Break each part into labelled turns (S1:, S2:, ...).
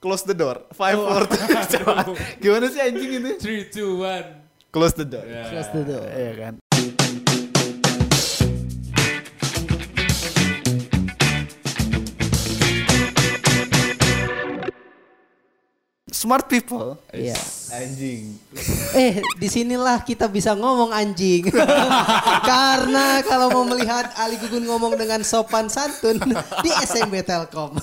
S1: Close the door. Five, four, three, coba. Gimana sih anjing ini?
S2: Three, two, one.
S1: Close the door.
S2: Ya.
S3: Close the door.
S1: Iya kan. Smart people.
S3: Iya.
S1: Anjing.
S3: Eh, disinilah kita bisa ngomong anjing. Karena kalau mau melihat Ali Gugun ngomong dengan sopan santun di SMB Telkom.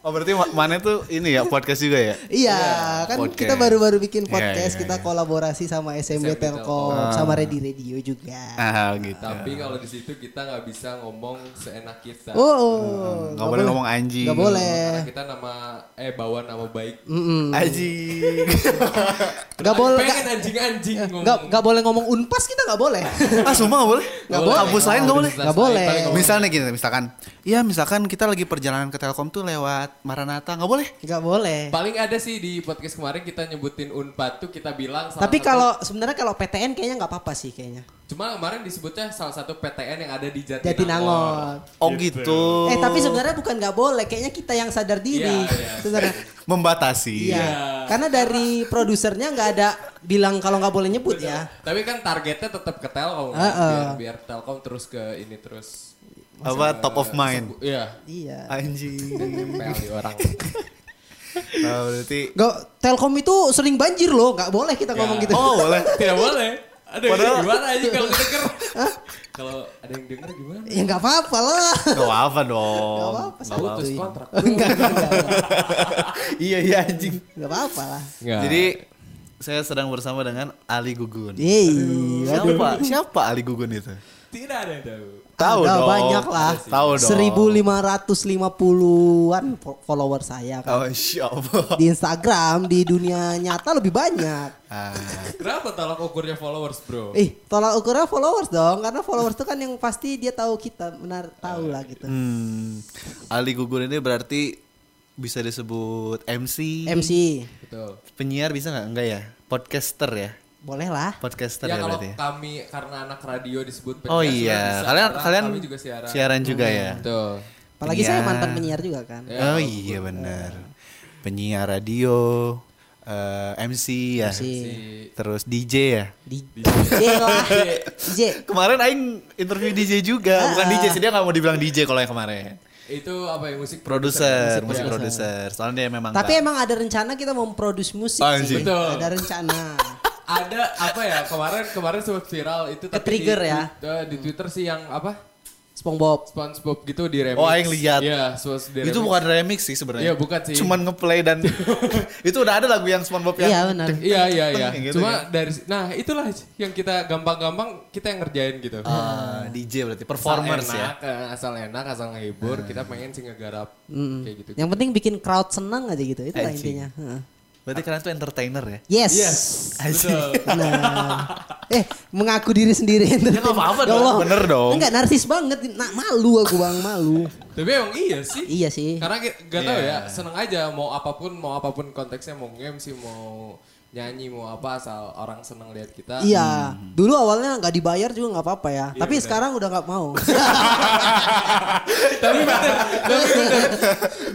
S1: Oh berarti Ma- Mane tuh ini ya podcast juga ya?
S3: Iya, kan
S1: podcast.
S3: kita baru-baru bikin
S1: Iya,
S3: podcast,
S1: iya,
S3: kita
S1: iya.
S3: kolaborasi sama
S2: SMB
S3: SMB, Telkom, sama Ready Radio juga.
S1: Ah gitu.
S2: Tapi kalau di situ kita nggak bisa ngomong seenak kita.
S3: Ya. Oh, iya. oh,
S1: Hmm, Nggak boleh ngomong anjing.
S3: Nggak boleh.
S2: Karena kita nama eh bawa nama baik.
S1: Hmm.
S3: Mm-mm.
S1: Anjing.
S3: Nggak boleh. Eh,
S2: Pengen anjing-anjing ngomong.
S3: Nggak nggak boleh ngomong unpas kita nggak boleh.
S1: ah sumpah nggak boleh?
S3: Nggak boleh.
S1: Kampus lain nggak boleh?
S3: Nggak boleh.
S2: Paling ngomong-
S1: Misalnya gini, misalkan, iya misalkan kita lagi perjalanan ke Telkom tuh lewat Maranatha, nggak boleh?
S3: Nggak boleh.
S2: Paling ada sih di podcast kemarin kita nyebutin Unpad tuh kita bilang salah
S3: Tapi
S2: satu-
S3: kalau sebenarnya kalau PTN kayaknya nggak apa-apa sih kayaknya.
S2: cuma kemarin disebutnya salah satu PTN yang ada di Jatinangor.
S3: Jatinangor.
S1: Oh gitu.
S3: Eh tapi sebenarnya bukan nggak boleh, kayaknya kita yang sadar diri.
S2: Iya, iya.
S3: Sebenarnya.
S1: membatasi.
S3: Iya. Karena dari produsernya nggak ada bilang kalau nggak boleh nyebut ya.
S2: Tapi kan targetnya tetap ke Telkom kan?
S3: Heeh.
S2: biar, biar Telkom terus ke ini terus.
S1: Apa top of mind.
S2: Iya.
S3: Iya.
S1: Anjing.
S2: Nempel di orang.
S1: Ah, berarti
S3: Nggak, Telkom itu sering banjir loh, nggak boleh kita ngomong gitu.
S1: Oh, boleh.
S2: Tidak boleh. Ada
S1: Padahal-
S2: gimana aja kalau denger. kalau ada yang denger gimana?
S3: Ya nggak apa-apa lah.
S1: Gak apa dong.
S3: Nggak apa-apa,
S1: Oh, Nggak
S3: salah.
S1: apa-apa.
S2: Putus
S3: iya.
S2: kontrak.
S3: Nggak nggak, nggak.
S1: Iya, iya anjing.
S3: Nggak apa-apa lah.
S1: Jadi saya sedang bersama dengan Ali Gugun.
S3: Yeay.
S1: Siapa? Siapa Ali Gugun itu?
S2: tidak ada yang tahu.
S1: Tahu
S3: Ada
S1: dong.
S3: banyak lah.
S1: Tahu dong.
S3: 1550-an fo- follower saya kan.
S1: Oh, insya Allah.
S3: Di Instagram, di dunia nyata lebih banyak.
S1: Ah,
S2: Kenapa tolak ukurnya followers, Bro?
S3: Eh, tolak ukurnya followers dong, karena followers itu kan yang pasti dia tahu kita, benar tahu lah gitu.
S1: hmm. Ali Gugun ini berarti bisa disebut MC.
S3: MC,
S2: Betul.
S1: Penyiar bisa nggak? Enggak ya. Podcaster ya.
S3: boleh lah.
S1: Podcaster ya,
S2: Ya kalau
S1: berarti. ya?
S2: kami karena anak radio disebut
S1: Oh
S2: penyiar, sudah
S1: iya,
S2: bisa,
S1: kalian
S2: karena
S1: kalian
S2: kami juga siaran. Hmm,
S1: juga ya.
S2: Betul.
S3: Apalagi saya
S1: Penyiar.
S3: mantan penyiar juga kan.
S2: Ya,
S1: oh iya benar.
S2: eh,
S1: Penyiar radio, eh, MC ya.
S3: MC.
S1: Terus DJ ya.
S3: Di DJ lah. DJ.
S1: Kemarin aing interview DJ
S3: Ah.
S1: juga, bukan DJ sih dia nggak mau dibilang DJ kalau yang kemarin.
S2: Itu apa ya musik
S1: Produser, musik
S2: Musik produser.
S1: produser. Soalnya dia memang
S3: Tapi
S1: nggak-
S3: emang ada rencana kita mau produce musik
S1: Ah, Anjing.
S3: sih.
S2: Betul.
S3: Ada rencana.
S2: Ada apa ya kemarin kemarin sempat viral itu tapi di,
S3: Ke-trigger ya.
S2: Di, eh, di Twitter sih yang apa?
S3: SpongeBob.
S2: SpongeBob gitu di remix.
S1: Oh, aing lihat.
S2: Iya, SpongeBob di
S1: itu
S2: remix.
S1: bukan remix sih sebenarnya.
S2: Iya, bukan sih.
S1: Cuman ngeplay dan itu udah ada lagu yang SpongeBob yang
S3: Iya benar.
S2: Iya iya iya.
S1: Kayak gitu
S2: Cuma dari nah itulah yang kita gampang-gampang kita yang ngerjain gitu.
S1: Ah, DJ berarti performers ya.
S2: asal enak, eh, Asal enak, asal ngehibur, kita pengen sih ngegarap kayak gitu.
S3: Yang penting bikin crowd senang aja gitu. Itulah
S1: Anjing.
S3: intinya. Heeh.
S1: Berarti kalian tuh entertainer ya.
S3: Yes.
S2: Yes. Betul.
S3: Nah. Eh, mengaku diri sendiri. Ya
S1: nggak apa-apa dong, bener dong.
S3: Enggak narsis banget. Nah, malu aku Bang, malu.
S2: Tapi emang iya sih.
S3: Iya sih.
S2: Karena ki- gak tau ya, seneng aja mau apapun, mau apapun konteksnya, mau game sih, mau nyanyi, mau apa, asal orang seneng lihat kita.
S3: Iya,
S1: Hmm.
S3: dulu awalnya nggak dibayar juga nggak apa-apa ya.
S1: Iya,
S3: Tapi sekarang udah nggak mau.
S2: tapi bener, tapi bener.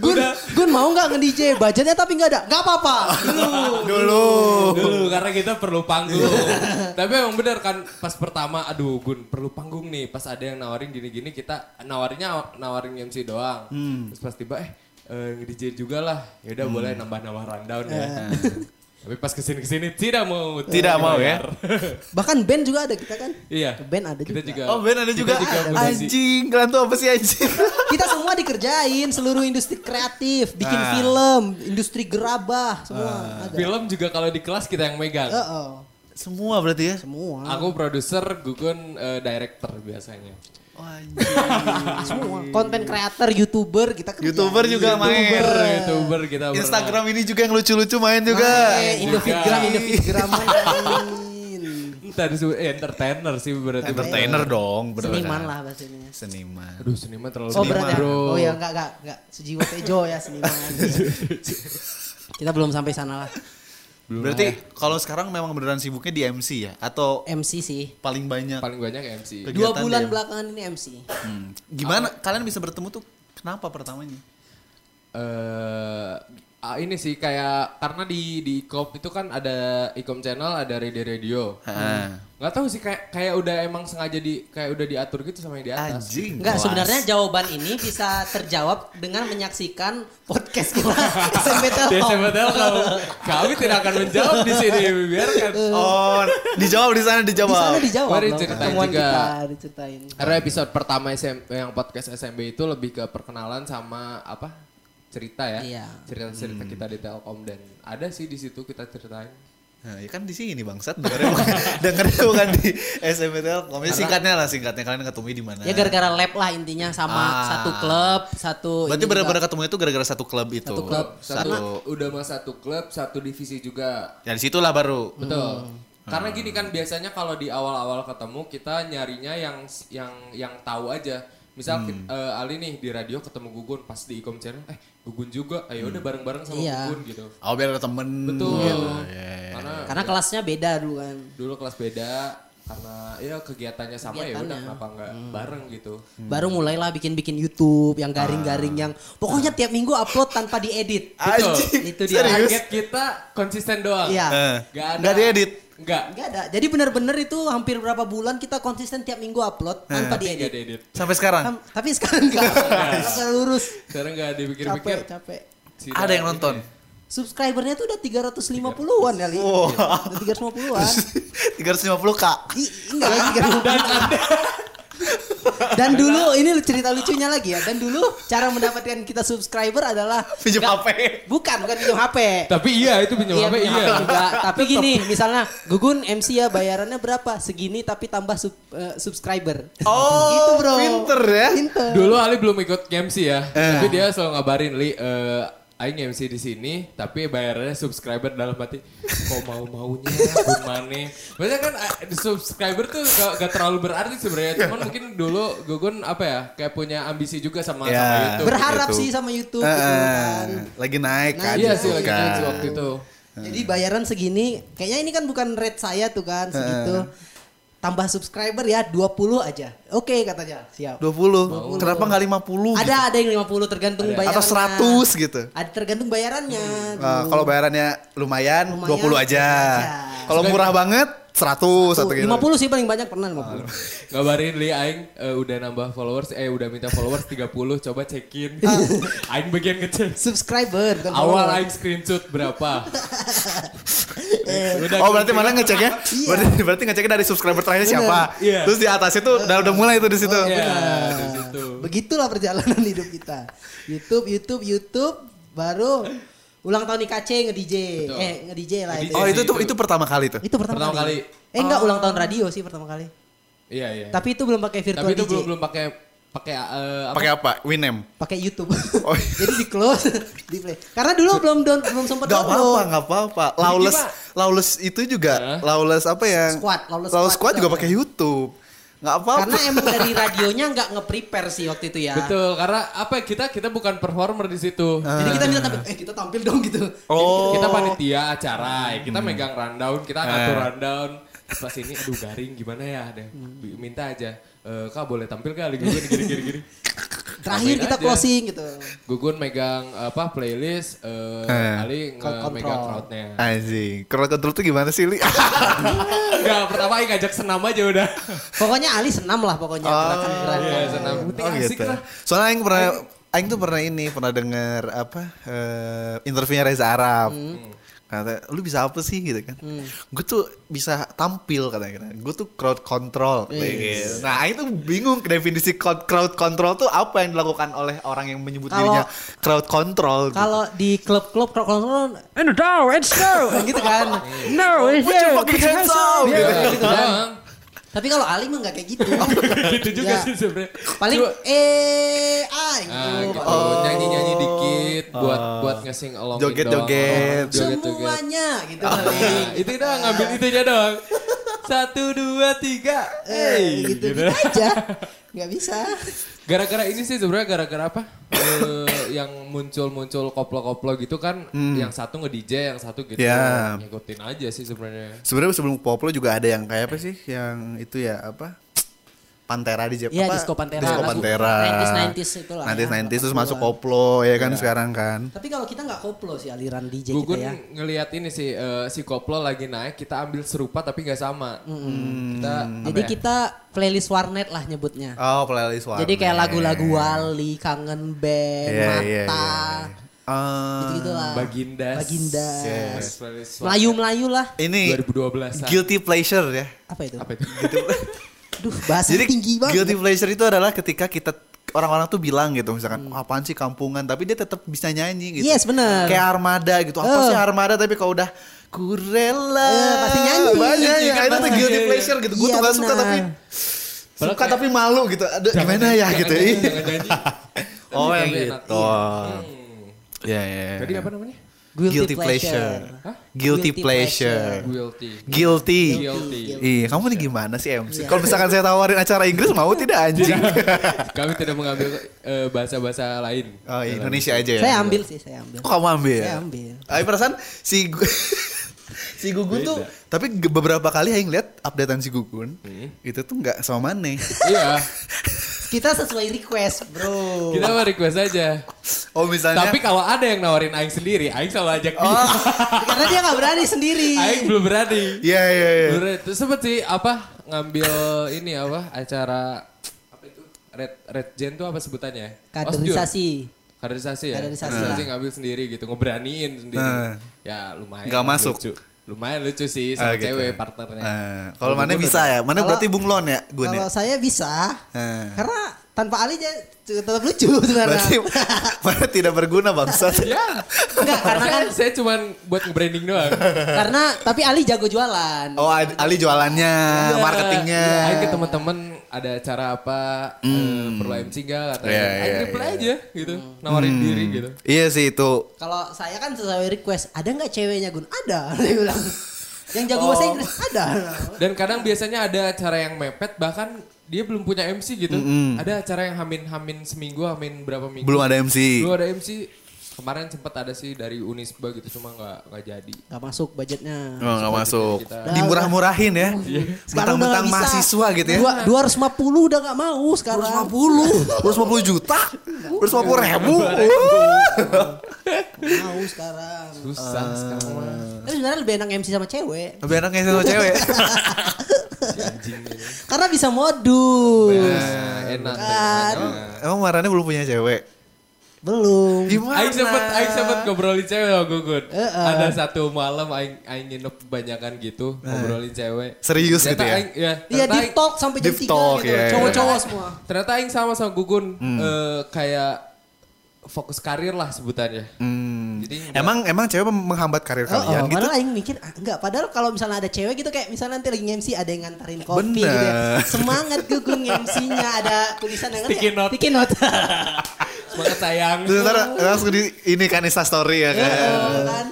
S3: Gun, Gun mau nggak nge DJ? Budgetnya tapi nggak ada, nggak apa-apa.
S1: Dulu.
S2: Dulu karena kita perlu panggung.
S1: Iya.
S2: tapi emang bener kan pas pertama, aduh Gun perlu panggung nih. Pas ada yang nawarin gini-gini kita nawarinnya nawarin MC doang.
S1: Hmm.
S2: Terus pas tiba eh eh, DJ juga lah. Ya udah boleh nambah-nambah rundown ya. tapi pas kesini-kesini tidak mau.
S1: Iya. Tidak mau ya.
S2: dibayar.
S3: Bahkan band juga ada kita kan.
S2: Iya.
S3: Band ada
S2: Kita
S3: juga.
S2: juga.
S1: Oh Ben ada
S2: kita
S1: juga.
S2: musisi.
S1: anjing, kalian tuh apa sih anjing?
S3: Kita semua dikerjain, seluruh industri kreatif, bikin
S1: Ah.
S3: film, industri gerabah, semua ada.
S2: Film juga kalau di kelas kita yang megang.
S3: Eh, eh,
S1: Semua berarti ya?
S3: semua,
S2: Aku produser, Gugun eh, director biasanya.
S1: Oh, Ah,
S3: semua. Konten kreator, youtuber kita kerjain.
S1: Youtuber juga main.
S2: Youtuber, YouTuber kita pernah.
S1: Instagram ini juga yang lucu-lucu main juga. Iya.
S3: Eh, Indofitgram, Indofitgram main.
S2: Entar disebut eh, entertainer sih berarti.
S1: Entertainer dong, bener.
S3: Seniman lah bahasanya.
S1: Seniman.
S2: Aduh, seniman terlalu
S3: Oh
S2: seniman,
S3: berat ya?
S2: bro.
S3: Oh ya enggak enggak enggak sejiwa Tejo ya seniman. Kita belum sampai sana lah.
S1: Berarti kalau sekarang memang beneran sibuknya di MC ya atau
S3: MC sih.
S1: paling banyak.
S2: Paling banyak Eh, MC.
S1: Kegiatan
S3: Dua bulan
S1: dia.
S3: belakangan ini MC.
S1: Hmm. Gimana kalian bisa bertemu tuh? Kenapa pertamanya?
S2: Eh, ah, ini sih kayak karena di di ikom itu kan ada ikom channel ada radio radio.
S1: Ah.
S2: Nggak tahu sih kayak kayak udah emang sengaja di kayak udah diatur gitu sama yang di atas.
S1: Anjing.
S3: Enggak,
S1: kelas.
S3: sebenarnya jawaban ini bisa terjawab dengan menyaksikan podcast kita SMP
S2: Di
S3: Telkom.
S2: SMA Telkom. Kami tidak akan menjawab di sini biarkan.
S1: Oh, dijawab di sana
S3: Di sana
S1: dijawab.
S3: dijawab.
S2: Mari
S3: dong,
S2: ceritain
S3: pertemuan
S2: juga.
S3: Kita, diceritain.
S2: Karena episode pertama SM, yang podcast SMB itu lebih ke perkenalan sama apa cerita ya
S3: Iya.
S2: cerita-cerita kita di Telkom dan ada sih di situ kita ceritain
S1: Nah, ya kan di sini bangsat dengerin bukan, dengerin bukan di SMP Telkom. Ya, singkatnya lah singkatnya kalian ketemu di mana?
S3: Ya
S2: Nah.
S3: gara-gara lab lah intinya sama
S1: Ah.
S3: satu klub, satu
S1: Berarti
S3: ini
S1: benar-benar
S3: juga.
S1: ketemu itu gara-gara satu klub itu.
S3: Satu klub.
S2: satu
S1: Satu.
S2: udah mah satu klub satu divisi juga
S1: Ya di situlah baru.
S2: betul
S3: Hmm.
S2: karena gini kan biasanya kalau di awal-awal ketemu kita nyarinya yang yang yang tahu aja misal kit- eh, Ali nih di radio ketemu Gugun pas di Ikom channel eh Gugun juga ayo udah bareng-bareng sama
S3: Iya.
S2: Gugun gitu
S1: Oh biar ada temen.
S2: betul
S1: Gitu. Ya, ya, ya.
S2: karena
S3: karena kelasnya beda dulu kan.
S2: dulu kelas beda karena ya kegiatannya sama ya udah
S3: Kegiatannya. Hmm.
S2: kenapa nggak bareng gitu
S1: Hmm.
S3: Baru mulailah bikin-bikin YouTube yang garing-garing yang pokoknya tiap minggu upload tanpa diedit.
S1: Ah. Anjing.
S3: Itu dia.
S1: Serius?
S2: target kita konsisten doang
S3: Iya.
S1: Eh,
S2: nggak ada
S1: nggak diedit.
S2: nggak
S3: Enggak ada. Jadi benar-benar itu hampir berapa bulan kita konsisten tiap minggu upload
S1: Nah,
S3: tanpa
S2: nggak
S3: diedit.
S2: diedit
S1: Sampai sekarang.
S3: Tam- Tapi sekarang enggak. Enggak lurus.
S2: sekarang nggak dipikir-pikir
S3: Capek, capek.
S2: si
S1: Ada yang
S2: Dara
S1: nonton.
S2: ini.
S3: Subscribernya tuh udah 350-an kali.
S1: Wow.
S3: Udah 350-an.
S1: 350k.
S3: Ih, enggak lagi kan. Dan, dulu ini cerita lucunya lagi ya. Dan dulu cara mendapatkan kita subscriber adalah
S1: Pinjam HP.
S3: bukan bukan pinjam HP.
S2: tapi iya itu pinjam
S3: Iya,
S2: HP
S3: pinjam
S2: iya
S3: HP juga. Tapi gini, misalnya Gugun MC ya bayarannya berapa? Segini tapi tambah sub- eh, subscriber.
S1: Oh,
S3: Gitu, bro.
S1: pinter ya.
S3: Pinter.
S2: dulu Ali belum ikut MC ya
S1: Eh.
S2: tapi dia selalu ngabarin Li eh, Aing MC di sini, tapi bayarnya subscriber dalam hati. Kok mau maunya, gimana? Maksudnya kan eh, subscriber tuh gak, gak terlalu berarti
S1: Iya.
S2: sebenarnya. Cuman mungkin dulu Gugun apa ya, kayak punya ambisi juga sama
S1: Ya.
S2: sama YouTube.
S3: Berharap
S1: gitu.
S3: sih sama YouTube
S1: Eh,
S3: gitu kan.
S1: lagi naik kan.
S2: Iya sih lagi
S1: kan.
S2: naik sih waktu itu.
S3: Jadi bayaran segini, kayaknya ini kan bukan rate saya tuh kan segitu. Tambah subscriber ya 20 aja. Oke katanya. Siap.
S1: 20. Kenapa nggak gitu? 50?
S3: Ada ada yang 50 tergantung
S1: gitu?
S3: bayarannya.
S1: Atau 100 gitu.
S3: Ada tergantung bayarannya.
S1: Nah, kalau bayarannya lumayan,
S3: Lumayan,
S1: 20 aja.
S3: aja.
S1: Kalau murah banget 100 atau gitu.
S3: 50 sih paling banyak pernah 50.
S2: Ngabarin Li Aing eh, udah nambah followers, eh udah minta followers 30, coba cekin. Aing bagian kecil.
S3: Subscriber bukan
S2: Awal
S3: follower.
S2: Aing screenshot berapa? udah
S1: Oh berarti mana ngeceknya? Berarti, berarti ngeceknya dari subscriber terakhirnya siapa?
S2: Iya.
S1: Terus di atasnya tuh udah, udah mulai tuh di situ.
S2: Iya,
S3: Nah,
S2: di situ.
S3: Begitulah perjalanan hidup kita. YouTube, YouTube, YouTube baru ulang tahun IKC nge-DJ.
S2: Betul.
S3: Eh, nge-DJ lah itu.
S2: Nge-DJ.
S1: Oh itu tuh itu
S2: Itu.
S1: pertama kali tuh.
S3: Itu pertama,
S2: Pertama
S3: kali.
S2: kali. Oh.
S3: Eh enggak ulang tahun radio sih pertama kali.
S2: Iya, iya.
S3: Tapi itu belum pakai virtual
S2: Tapi itu
S3: DJ.
S2: belum belum pakai pakai eh, apa?
S1: Pakai apa? Winem.
S3: Pakai YouTube.
S1: Oh.
S2: iya.
S3: Jadi di close, di play. Karena dulu belum down, belum sempat
S1: Gak apa-apa,
S3: download.
S1: gak apa-apa. Lawless, lawless itu juga, lawless apa ya?
S3: Squad, lawless squad
S1: juga
S3: juga.
S1: pakai YouTube. Gak apa-apa.
S3: Karena emang dari radionya nggak nge-prepare sih waktu itu ya.
S2: Betul, karena apa kita kita bukan performer di situ.
S3: Jadi kita minta tampil, eh kita tampil dong gitu.
S2: Jadi
S1: Ah. Oh, Ah,
S2: Kita panitia acara, ya. kita megang rundown, kita ngatur rundown. Terus Pas ini aduh garing gimana ya deh. Minta aja. Eh Kak boleh tampil kali gue gini-gini gini.
S3: Terakhir
S2: Tampilin
S3: kita
S2: aja.
S3: closing gitu.
S2: Gugun megang apa playlist, eh,
S1: Eh.
S2: Ali nge-
S3: Crowd
S2: megang
S3: control.
S2: crowdnya.
S1: anjing. Crowd control tuh gimana sih, Li?
S2: Enggak, pertama Aing ngajak senam aja udah.
S3: Pokoknya Ali senam lah pokoknya gerakan-gerakan.
S2: Iya, senam.
S1: Oh
S2: Asik
S1: gitu.
S2: lah.
S1: Soalnya Aing pernah Aing tuh pernah ini pernah denger apa eh, interviewnya Reza Arab.
S3: Hmm.
S1: Kata, lu bisa apa sih gitu kan? Gue tuh bisa tampil katanya. Gue tuh crowd control. kayak
S3: Iya.
S1: gitu. Nah, Aing tuh bingung definisi crowd crowd control tuh apa yang dilakukan oleh orang yang menyebut
S3: Kalau-
S1: dirinya crowd control. gitu.
S3: Kalau di klub-klub kalau kalau-
S4: And no, it's no.
S3: gitu kan.
S4: No, it's
S1: Put your
S4: no.
S1: fucking hands up!
S2: Iya,
S1: Gitu.
S2: gitu doang.
S3: Tapi kalau Ali mah nggak kayak gitu.
S2: Gitu juga
S3: Ya.
S2: sih sebenarnya.
S3: Paling
S2: Cuma-
S3: eh ah
S2: Ah,
S3: gitu.
S2: gitu. nyanyi-nyanyi dikit buat buat nge-sing along gitu
S1: Joget-joget.
S2: Joget-joget.
S3: Semuanya gitu.
S2: Nah, itu doang ngambil itunya doang. Satu dua tiga.
S3: Eh,
S2: Eh,
S3: gitu,
S2: gitu.
S3: gitu aja. Nggak bisa.
S2: Gara-gara ini sih sebenarnya gara-gara apa? Eh, yang muncul-muncul koplo-koplo gitu kan, yang satu nge-DJ, yang satu gitu
S1: Ya.
S2: ngikutin aja sih sebenarnya.
S1: Sebenarnya sebelum Poplo juga ada yang kayak apa sih? Yang itu ya apa? Pantera di Jepang.
S3: Iya,
S1: apa?
S3: disco Pantera.
S1: Disco
S3: Lagu
S1: Pantera.
S3: 90s, 90s itulah Iya. ya,
S1: 90s terus masuk
S5: 80-an.
S1: koplo ya kan sekarang kan.
S3: Tapi kalau kita nggak koplo sih aliran DJ
S2: Gugun
S3: kita ya.
S2: ngelihat ini sih eh, si koplo lagi naik, kita ambil serupa tapi nggak sama. Kita apa
S3: Jadi
S2: ya?
S3: kita playlist warnet lah nyebutnya.
S1: Oh, playlist warnet.
S3: Jadi kayak lagu-lagu Wali, Kangen Band,
S1: Iya,
S3: Mata,
S1: iya, iya. Ah,
S3: gitu-gitu lah.
S2: Bagindas.
S3: Bagindas.
S2: Yes. Playlist warnet.
S3: Melayu-melayu lah.
S1: Ini
S2: 2012-an.
S1: guilty pleasure ya.
S3: Apa itu?
S2: Apa itu?
S3: Duh, bahasanya
S1: Jadi
S3: tinggi banget.
S1: guilty pleasure itu adalah ketika kita orang-orang tuh bilang gitu
S2: Hmm.
S1: misalkan "Wah, apaan sih kampungan tapi dia tetap bisa nyanyi gitu.
S3: Yes, bener.
S1: Kayak armada gitu. Apa
S3: Eh.
S1: sih armada tapi kalau udah kurela
S3: Eh, pasti nyanyi.
S1: Banyak
S2: Nyanyi
S1: ya,
S2: kan
S1: itu tuh
S2: pasti.
S1: guilty pleasure gitu. Gue
S3: Iya,
S1: tuh gak suka
S3: bener.
S1: tapi
S2: Padahal
S1: suka tapi malu gitu. Aduh, gimana ya
S2: jangan
S1: gitu.
S2: nyanyi, jangan nyanyi.
S1: oh, yang
S2: Tapi enak.
S1: gitu. Ya, ya. ya.
S2: Iya, Jadi apa namanya?
S1: Guilty pleasure.
S3: Hah?
S1: Guilty pleasure.
S2: Guilty.
S1: Guilty.
S2: Guilty.
S1: Iya, kamu nih gimana sih MC?
S3: Iya.
S1: Kalau misalkan saya tawarin acara Inggris mau tidak anjing?
S2: Kami tidak mengambil eh, bahasa-bahasa lain.
S1: Oh, Indonesia aja ya.
S3: Saya ambil sih, saya ambil.
S1: Kok kamu ambil?
S3: Saya ambil.
S1: Tapi perasaan si Gu- si Gugun tuh tapi ge- beberapa kali yang lihat updatean si Gugun
S2: Hmm.
S1: itu tuh nggak sama Mane.
S2: Iya.
S3: Kita sesuai request, bro.
S2: Kita mah request aja.
S1: Oh misalnya
S2: Tapi kalau ada yang nawarin Aing sendiri, Aing selalu ajak dia.
S1: Oh.
S3: Karena dia nggak berani sendiri.
S2: Aing belum berani.
S1: Iya iya iya.
S2: Belum berani. Terus sempet sih apa ngambil ini apa acara apa itu red red gen tuh apa sebutannya? ya? Osjur.
S3: Kaderisasi.
S2: Kaderisasi ya.
S3: Kaderisasi
S2: ngambil sendiri gitu, ngeberaniin sendiri.
S1: Nah.
S2: Ya lumayan.
S1: Nggak masuk.
S2: lucu. Lumayan lucu sih sama
S1: Ah, gitu.
S2: cewek partnernya.
S1: Eh, kalau Mane bisa ya. Mane
S3: Kalau-
S1: berarti bunglon ya Gun ya.
S3: Kalau saya bisa,
S1: Eh.
S3: karena tanpa Ali dia tetap lucu
S1: Berarti
S3: sebenarnya.
S1: Mane tidak berguna bangsa.
S2: Ya.
S3: Enggak, karena
S2: Saya,
S3: kan
S2: saya cuman buat nge-branding doang.
S3: karena tapi Ali jago jualan.
S1: Oh Ad- Ali jualannya, Nah, marketingnya. Hmm.
S2: Iya, Aing ke teman-teman ada acara apa eh, perlu MC enggak katanya.
S1: Iya,
S2: Aing
S1: iya,
S2: reply aja gitu, nawarin diri gitu.
S1: Iya sih itu.
S3: Kalau saya kan sesuai request, ada nggak ceweknya Gun? Ada, dia bilang. Yang jago
S1: Oh.
S3: bahasa Inggris ada.
S2: Dan kadang biasanya ada acara yang mepet bahkan dia belum punya MC gitu. Ada acara yang hamin-hamin seminggu, hamin berapa minggu.
S1: Hmm. Belum ada MC.
S2: Belum ada MC. Kemarin sempat ada sih dari Unisba gitu cuma nggak nggak jadi.
S3: Gak masuk budgetnya.
S1: Oh, nggak masuk.
S2: kita- Iya.
S1: Dimurah-murahin ya. Bentang-bentang
S3: nggak bisa.
S1: mahasiswa gitu ya.
S3: Dua, 250 udah gak mau sekarang.
S1: 250, 250 juta, 250 ribu.
S3: Nggak Mau sekarang.
S2: Susah
S3: Ah,
S2: sekarang mah.
S3: Tapi sebenarnya lebih enak MC sama cewek.
S1: Lebih enak ngisi sama cewek.
S3: Karena bisa modus.
S2: Nah, enak.
S3: Kan.
S1: Emang Marane belum punya cewek?
S3: Belum.
S1: Gimana?
S2: Aing sempet, Aing sempet ngobrolin cewek sama Gugun. Ada satu malam Aing, Aing nginep kebanyakan gitu ngobrolin cewek.
S1: Serius
S2: Ternyata
S1: gitu ya?
S2: Aing, ya
S3: Eh. Iya
S2: ternyata
S3: deep
S2: Aing-
S3: talk sampai jam
S1: Deep
S3: 3
S1: talk,
S3: gitu.
S1: iya, iya.
S3: Cowok-cowok semua.
S2: Ternyata Aing sama sama Gugun
S1: Hmm.
S2: eh, kayak fokus karir lah sebutannya.
S1: Hmm.
S2: Jadi nggak-
S1: Emang emang cewek mem- menghambat karir
S3: Oh,
S1: kalian gitu?
S3: Padahal Aing mikir ah, enggak. Padahal kalau misalnya ada cewek gitu kayak misalnya nanti lagi MC ada yang nganterin kopi
S1: Bener.
S3: gitu ya. Semangat gugung MC-nya ada tulisan yang
S2: Sticky note.
S3: Sticky note.
S2: semangat sayang.
S1: Terus ntar langsung di ini kan Insta story ya kan.
S2: Iya.
S3: Oh, kan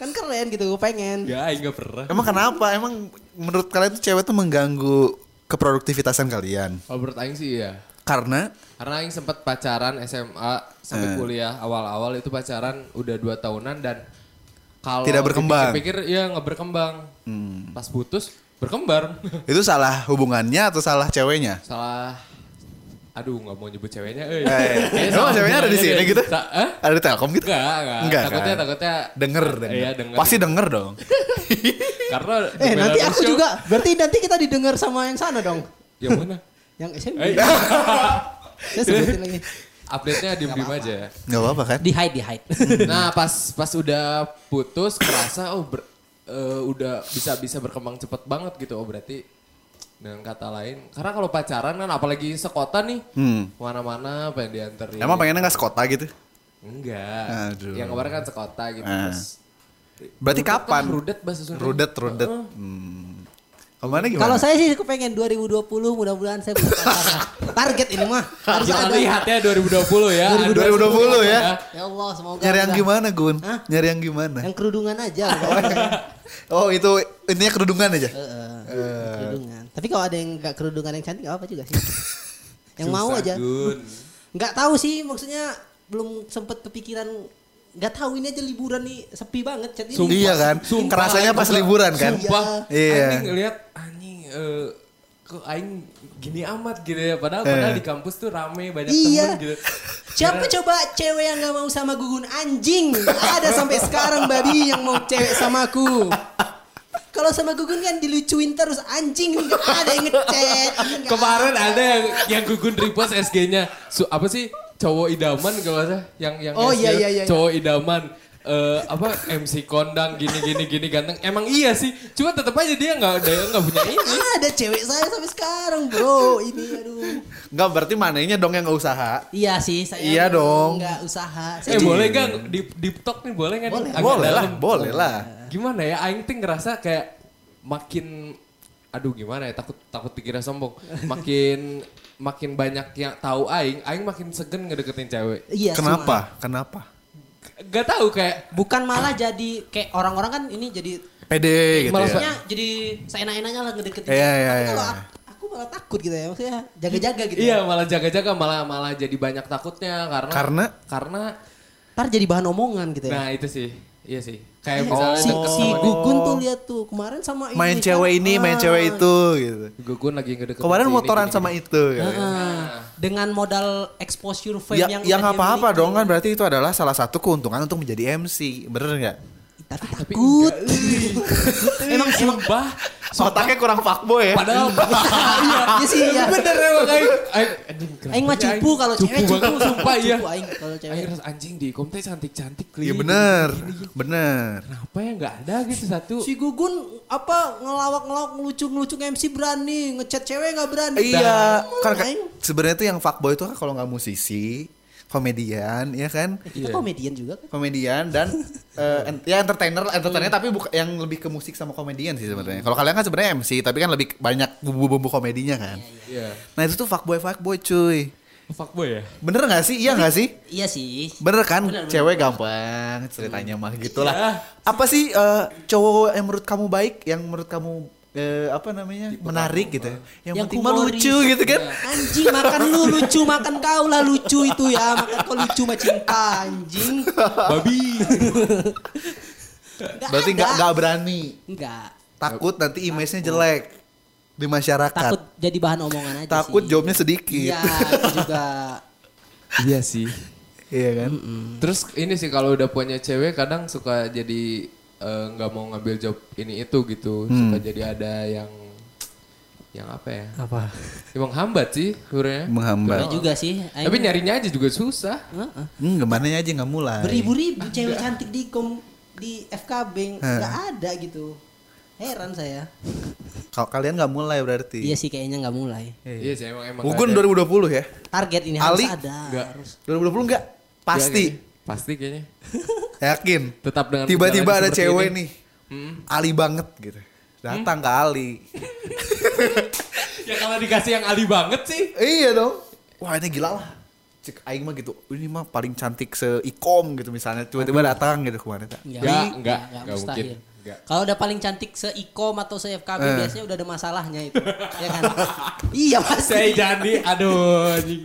S3: kan keren gitu gue pengen.
S2: Enggak, Aing gak pernah.
S1: Emang kenapa? Emang menurut kalian tuh cewek tuh mengganggu keproduktivitasan kalian?
S2: Kalau menurut Aing sih iya.
S1: Karena
S2: Karena Aing sempat pacaran SMA
S1: Eh.
S2: sampai kuliah awal-awal itu pacaran udah dua tahunan dan kalau
S1: Tidak berkembang. Hmm.
S2: Pikir ya nggak berkembang. Pas putus berkembang.
S1: itu salah hubungannya atau salah ceweknya?
S2: Salah. Aduh nggak mau nyebut ceweknya. Eh,
S1: Eh, emang ceweknya ada di sini gitu?
S2: Sa eh?
S1: Ada di Telkom gitu?
S2: Enggak, enggak.
S1: Enggak
S2: takutnya,
S1: kan?
S2: takutnya.
S1: Denger, denger.
S2: Iya, denger.
S1: Pasti denger dong.
S2: Karena di
S3: Eh nanti
S2: Belarus
S3: aku
S2: show-
S3: juga. Berarti nanti kita didengar sama yang sana dong.
S2: Yang mana?
S3: Yang SMP.
S2: Eh,
S3: Saya sebutin lagi.
S2: update-nya diem-diem aja ya.
S1: Gak apa-apa kan?
S3: Di hide, di hide.
S2: Nah, pas pas udah putus kerasa oh ber- eh, udah bisa bisa berkembang cepet banget gitu. Oh, berarti dengan kata lain, karena kalau pacaran kan apalagi sekota nih,
S1: Hmm.
S2: mana-mana pengen dianterin.
S1: Emang pengennya gak sekota gitu?
S2: Enggak.
S1: Aduh.
S2: Yang kemarin kan sekota gitu.
S1: Eh.
S2: Terus,
S1: Berarti
S2: rudet
S1: kapan?
S2: Kan, rudet bahasa Sunda.
S1: Rudet, rudet. Hmm. Kemana gimana?
S3: Kalau saya sih aku pengen 2020 mudah-mudahan saya bisa pacaran. Target ini mah. Harus
S2: Kita
S3: ada.
S2: lihat ya 2020 ya.
S1: 2020 ya.
S3: Ya Allah semoga.
S1: nyari yang
S3: udah.
S1: gimana Gun?
S3: Hah?
S1: Nyari yang gimana?
S3: Yang kerudungan aja.
S1: Oh itu intinya kerudungan aja.
S3: Heeh,
S1: Eh.
S3: kerudungan. Tapi kalau ada yang nggak kerudungan yang cantik nggak apa juga sih. yang mau
S2: Susah,
S3: aja.
S2: Gun.
S3: Nggak tahu sih maksudnya belum sempet kepikiran nggak tahu ini aja liburan nih sepi banget chat ini.
S2: Sumpah.
S1: iya kan?
S2: Sumpah,
S1: Kerasanya
S2: anjing
S1: pas
S2: juga.
S1: liburan kan?
S2: Sumpah.
S1: Iya.
S2: Anjing ngeliat anjing eh, kok aing gini amat gitu ya padahal padahal
S1: Eh.
S2: di kampus tuh rame banyak
S5: Iya.
S2: temen gitu.
S5: Siapa coba cewek yang gak mau sama gugun anjing? Ada sampai sekarang babi yang mau cewek sama aku. Kalau sama gugun kan dilucuin terus anjing nggak ada yang ngechat. nggak
S2: Kemarin
S5: ada.
S2: ada yang yang gugun repost SG-nya. Su- apa sih cowok idaman kalau nggak salah yang yang
S5: Oh,
S2: SG,
S5: iya, iya, iya, iya.
S2: cowok idaman eh, apa MC kondang gini gini gini ganteng. Emang iya sih. Cuma tetap aja dia nggak dia nggak punya ini.
S5: Ada cewek saya sampai sekarang bro. Ini aduh.
S1: Enggak berarti mananya dong yang nggak usaha.
S5: Iya sih saya.
S1: Iya dong.
S5: Nggak usaha. Saya
S2: Eh
S5: juga-
S2: boleh gak di di talk nih boleh nggak?
S5: Boleh.
S2: Agak
S1: boleh lah,
S2: dalam.
S1: boleh lah.
S2: Gimana ya? Aing ting ngerasa kayak makin aduh gimana ya takut takut dikira sombong. Makin makin banyak yang tahu aing, aing makin segen ngedeketin cewek.
S5: Iya. semua.
S1: Kenapa? Kenapa?
S2: Gak tahu kayak
S3: Bukan malah jadi kayak orang-orang kan ini jadi
S1: Pede gitu
S3: maksudnya
S1: ya.
S3: jadi seenak-enaknya lah ngedeketin.
S1: Iya, iya,
S5: Tapi
S1: iya.
S5: kalau aku, aku malah takut gitu ya. Maksudnya jaga-jaga gitu.
S2: Iya malah jaga-jaga malah malah jadi banyak takutnya karena
S1: Karena?
S2: karena
S5: Ntar jadi bahan omongan gitu ya.
S2: nah itu sih iya sih
S5: Eh,
S2: kayak misalnya
S5: si,
S2: deket
S5: si
S2: sama-
S5: Gugun tuh lihat tuh kemarin sama ini
S1: Main
S5: kan.
S1: cewek ini, main
S5: Ah.
S3: Oh.
S1: cewek itu gitu.
S2: Gugun lagi ngedeket
S1: Kemarin motoran sama itu
S5: Ah,
S1: kan.
S3: Nah, dengan modal exposure fame
S1: Ya,
S3: yang
S1: yang
S3: udah
S1: apa-apa
S3: dimiliki.
S1: dong kan berarti itu adalah salah satu keuntungan untuk menjadi MC, bener nggak?
S5: Tapi takut.
S2: emang sumpah
S1: Otaknya kurang fuckboy ya.
S2: padahal
S5: Iya iya sih iya.
S2: bener emang aing aing anjing, kenapa
S5: Aing mah
S3: Iya,
S2: sih
S5: Eh, cupu kalau cewek
S2: cupu
S5: cupu
S2: banget, sumpah iya
S5: Cupu aing kalau
S2: aing
S5: cewek.
S2: harus anjing di kom teh cantik-cantik
S1: Iya
S2: li.
S1: bener, bener.
S2: kenapa ya nggak ada gitu satu
S5: Si Gugun apa ngelawak-ngelawak ngelucu-ngelucu MC berani, ngechat cewek nggak berani.
S1: Iya, kan kan-
S5: Aing.
S1: sebenarnya tuh yang fuckboy itu kan kalau nggak musisi, komedian, ya kan?
S2: Iya.
S5: Kita komedian juga kan.
S1: Komedian dan eh, ent- ya entertainer, lah, entertainer tapi bukan yang lebih ke musik sama komedian sih sebenarnya. Kalau kalian kan sebenarnya MC, tapi kan lebih banyak bumbu-bumbu komedinya kan.
S2: iya
S1: Nah, itu tuh fuckboy fuckboy cuy.
S2: fuckboy ya
S1: Bener nggak sih? Iya nggak sih?
S3: Iya sih.
S1: Bener kan, cewek gampang ceritanya mah gitulah. Apa sih eh, cowok yang menurut kamu baik, yang menurut kamu eh, apa namanya menarik gitu? ya? Yang,
S3: Yang
S1: penting mah
S3: humoris.
S1: lucu gitu kan?
S3: Iya.
S5: Anjing makan lu lucu makan kau lah lucu itu ya makan kau lucu mah cinta anjing
S2: babi
S1: Berarti nggak nggak berani,
S3: Enggak.
S1: takut nanti image-nya jelek di masyarakat,
S3: Takut
S1: takut,
S3: jadi bahan omongan aja sih.
S1: jawabnya
S5: Iya
S1: sedikit,
S5: itu juga
S2: iya sih
S1: iya kan?
S2: Terus ini sih kalau udah punya cewek kadang suka jadi eh, nggak mau ngambil job ini itu gitu. Suka jadi ada yang yang apa ya?
S3: Apa?
S2: Emang hambat sih sebenarnya.
S1: Menghambat.
S2: Iya
S3: Enggak juga sih. Aing-
S2: Oh. Tapi nyarinya aja juga susah.
S3: Heeh.
S1: Hmm, gimana aja nggak mulai.
S5: beribu-ribu cewek cantik di kom di FKB nggak ada gitu heran saya
S1: Kalau kalian nggak mulai berarti.
S3: Iya sih kayaknya nggak mulai.
S2: Iya sih emang emang.
S1: Gugun
S2: nggak ada.
S1: 2020 ya?
S3: Target ini
S1: Ali?
S3: harus ada.
S2: Nggak.
S1: 2020 nggak?
S2: Iya,
S1: Pasti.
S2: kayaknya. Pasti kayaknya.
S1: Yakin?
S2: Tetap dengan
S1: Tiba-tiba
S2: perjalanan
S1: ada
S2: seperti
S1: cewek
S2: ini.
S1: nih. Ali banget gitu. Datang ke Ali.
S2: Ya kalau dikasih yang ali banget sih.
S1: iya dong. Wah ini gila lah. Cek aing mah gitu. Ini mah paling cantik se-ikom gitu misalnya. Tiba-tiba datang gitu kemarin.
S3: Nggak,
S2: Nggak,
S3: Iya,
S2: nggak,
S3: nggak
S2: nggak
S3: mustahil.
S2: mungkin. Nggak.
S3: Kalau udah paling cantik se-ikom atau se-FKB
S1: Eh.
S3: biasanya udah ada masalahnya itu. ya kan? iya pasti.
S2: Saya jadi aduh. anjing.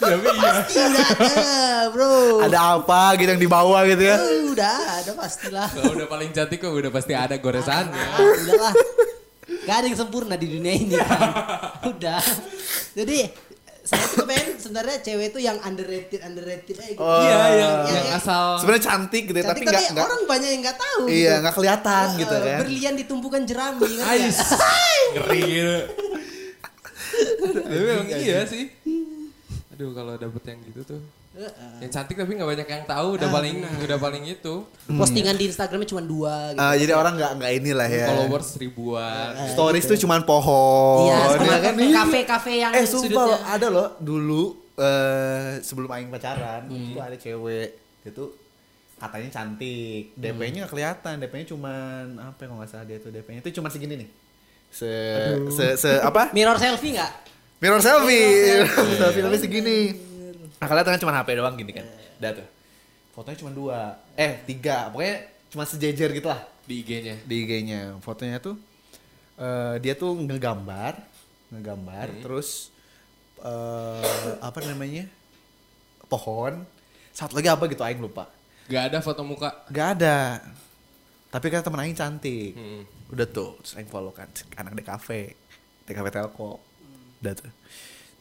S2: Tapi iya.
S5: pasti udah ada bro
S1: Ada apa gitu yang dibawa gitu ya.
S5: Eh, udah ada pastilah
S2: Kalau udah paling cantik kok udah pasti ada goresannya.
S5: Ah, udahlah gak ada yang sempurna di dunia ini kan udah jadi saya tuh pengen sebenarnya cewek itu yang underrated underrated aja gitu.
S1: Oh.
S2: Iya, yang,
S5: Iya,
S2: yang
S5: iya.
S2: asal
S1: Sebenarnya cantik gitu ya, tapi
S5: Cantik,
S1: nggak
S5: tapi,
S1: nggak-
S5: orang banyak yang nggak tahu
S1: Iya
S5: gitu.
S1: nggak kelihatan
S5: Eh,
S1: gitu kan.
S5: berlian ditumpukan jerami kan
S2: Ais. Ngeri gitu. Tapi emang iya sih. Aduh kalau dapet yang gitu tuh. Yang cantik tapi nggak banyak yang tahu udah paling udah paling itu.
S3: Postingan di Instagramnya cuma dua gitu.
S1: Hmm. Ah, jadi orang nggak nggak inilah ya.
S2: Followers ribuan.
S1: Stories tuh cuman pohon.
S3: Iya,
S1: ya
S3: sama
S1: kan?
S3: kafe-kafe yang
S1: Eh sumpah
S3: sudutnya.
S1: loh, ada loh dulu eh sebelum Aing pacaran itu ada cewek itu katanya cantik DP-nya nggak kelihatan DP-nya cuman apa ya, kalau nggak salah dia tuh DP-nya itu cuman segini nih se se, se apa
S3: Mirror selfie nggak?
S1: mirror selfie mirror selfie tapi segini nah kelihatan kan cuman HP doang gini kan udah tuh fotonya cuma dua eh tiga pokoknya cuma sejajar gitu lah
S2: Di IG-nya.
S1: di IG-nya fotonya tuh eh, dia tuh ngegambar ngegambar terus eh, apa namanya pohon satu lagi apa gitu Aing lupa
S2: Gak ada foto muka.
S1: nggak ada tapi kan temen Aing cantik udah tuh terus Aing follow kan cek, anak di kafe TKP Telkom. Udah tuh.